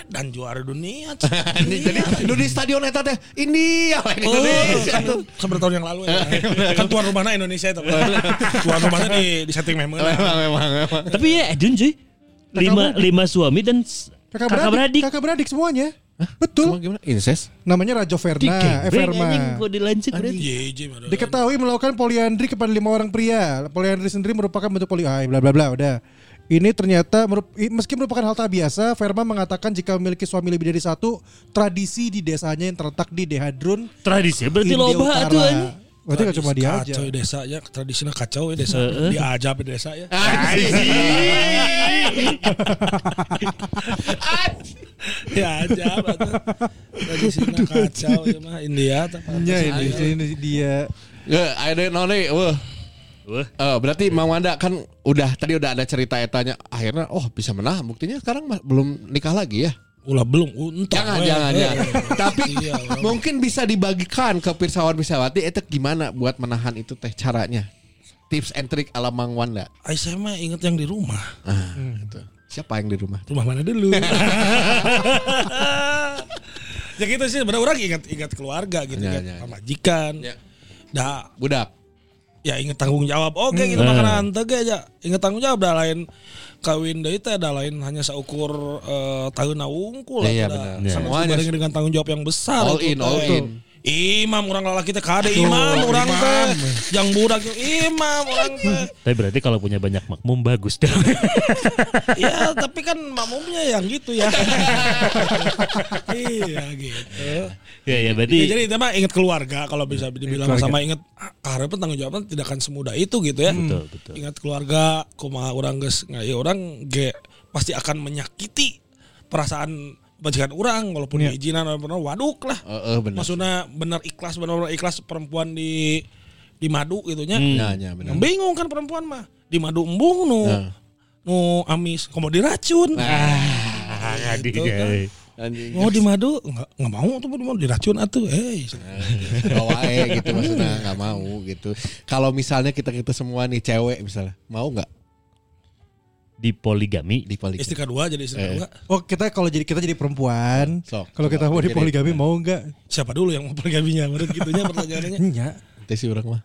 dan juara dunia. Ini jadi lu di stadion eta teh India. Indonesia. Oh, kan seperti tahun yang lalu ya. kan tuan rumahnya Indonesia itu. tuan rumahnya di di setting memang. Memang memang memang. Tapi ya Edun cuy. Lima, lima suami dan s- Kakak, beradik, kakak beradik semuanya. Betul. Cuma gimana? Incest? Namanya Rajo Verna, eh, Digembeng, Verma. anjing, kok dilancik Iya, berarti. Diketahui melakukan poliandri kepada lima orang pria. Poliandri sendiri merupakan bentuk poli ah, bla bla bla udah. Ini ternyata merup- i- meski merupakan hal tak biasa, Verma mengatakan jika memiliki suami lebih dari satu, tradisi di desanya yang terletak di Dehadrun, Tradisi berarti India loba Utara. tuh anjing. Berarti gak cuma dia aja. Kacau ya desa ya, tradisinya kacau ya desa. Diajab ya desa ya. Diajab. atuh. Tradisinya kacau ya mah India. tempat- Ya, ini, ini dia. Nggak, ada none, wah. Wah, Eh, berarti Mang Wanda kan udah tadi udah ada cerita etanya akhirnya oh bisa menang buktinya sekarang ma- belum nikah lagi ya Ulah belum untung. jangan we. jangan Eh, ya tapi Iya, ulah. mungkin bisa dibagikan ke pirsawan pirsawati itu gimana buat menahan itu teh caranya tips and trick ala Mang Wanda Ay, saya mah inget yang di rumah. Gitu. siapa yang di rumah Rumah mana dulu? ya gitu sih, benar orang ingat ingat keluarga gitu, Ya, ingat ya, ya. majikan. Ya. Dah, budak ya ingat tanggung jawab. Oke, gitu makanan henteu ge aja. Ingat tanggung jawab dah lain kawin deui teh dah lain hanya seukur eh, taheuna wungkul Ya, ya, benar. dah. Sama Semuanya. sebarengnya dengan tanggung jawab yang besar. all itu in teh. all in Imam orang lalaki teh kade imam orang teh yang budak itu imam orang teh. tapi berarti kalau punya banyak makmum bagus dong. ya tapi kan makmumnya yang gitu ya iya gitu ya ya berarti. Ya, jadi itu mah ingat keluarga kalau bisa Iya, dibilang sama ingat harapan tanggung jawaban tidak akan semudah itu gitu ya Betul, betul. ingat keluarga kumaha orang geus nggak ya orang ge pasti akan menyakiti perasaan bajikan orang walaupun Iya. diizinan walaupun waduk lah Eh, eh, benar maksudnya benar ikhlas benar-benar ikhlas perempuan di di madu gitunya Nah, ya, benar bingung kan perempuan mah di madu embung nu Nah. nu amis komo diracun Ah, gitu dia. kan. Anjing. mau di madu nggak nggak mau tuh di madu diracun atuh eh Nah, bawa eh gitu maksudnya nggak mau gitu kalau misalnya kita kita semua nih cewek misalnya mau nggak Di poligami. dibalik istri kedua jadi istri Eh. kedua Oh kita kalau jadi kita jadi perempuan, Sok, kalau kita sok, mau di pikirin. poligami mau nggak? siapa dulu yang mau poligaminya menurut gitunya pertanyaannya Enggak, Itu sih orang mah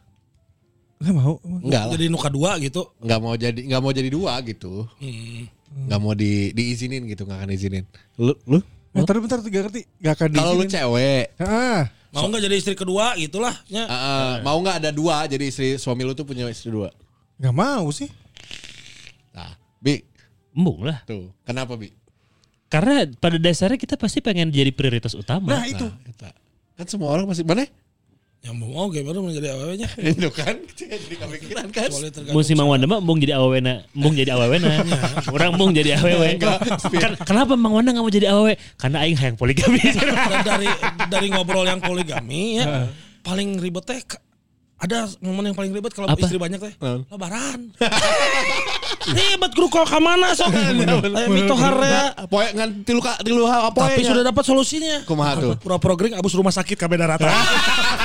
nggak mau. nggak lah jadi nuka dua gitu nggak mau jadi nggak mau jadi dua gitu Hmm. nggak mau di diizinin gitu nggak akan izinin lu lu Nah, bentar, bentar, gak ngerti. Gak akan Kalau lu diizinin. cewek, Ah, Mau nggak jadi istri kedua gitulah. Ya. eh, mau nggak ada dua? Jadi istri suami lu tuh punya istri dua. gak mau sih. Nah, bi Embung lah. tuh kenapa bi? Karena pada dasarnya kita pasti pengen jadi prioritas utama. Nah itu. Kita- Kan semua orang masih mana? Yang Ya, mau gimana mau jadi awalnya. Itu kan jadi kepikiran kan. Kecuali tergantung Musim cara. Mang Wanda mah embung jadi awewena, embung jadi Nah. awewena. Orang embung jadi awewe. Kan, kenapa Mang Wanda gak mau jadi awewe? Karena aing hayang poligami. Dan dari dari ngobrol yang poligami ya paling ribet teh ke- ada momen yang paling ribet kalau Apa? istri banyak teh lebaran ribet kru kok kemana sok Aya mitohar ya Poe ngan tilu ka tilu apa tapi sudah dapat solusinya ya. Kumaha nah. tuh? pura-pura gering abis rumah sakit kabeh daratan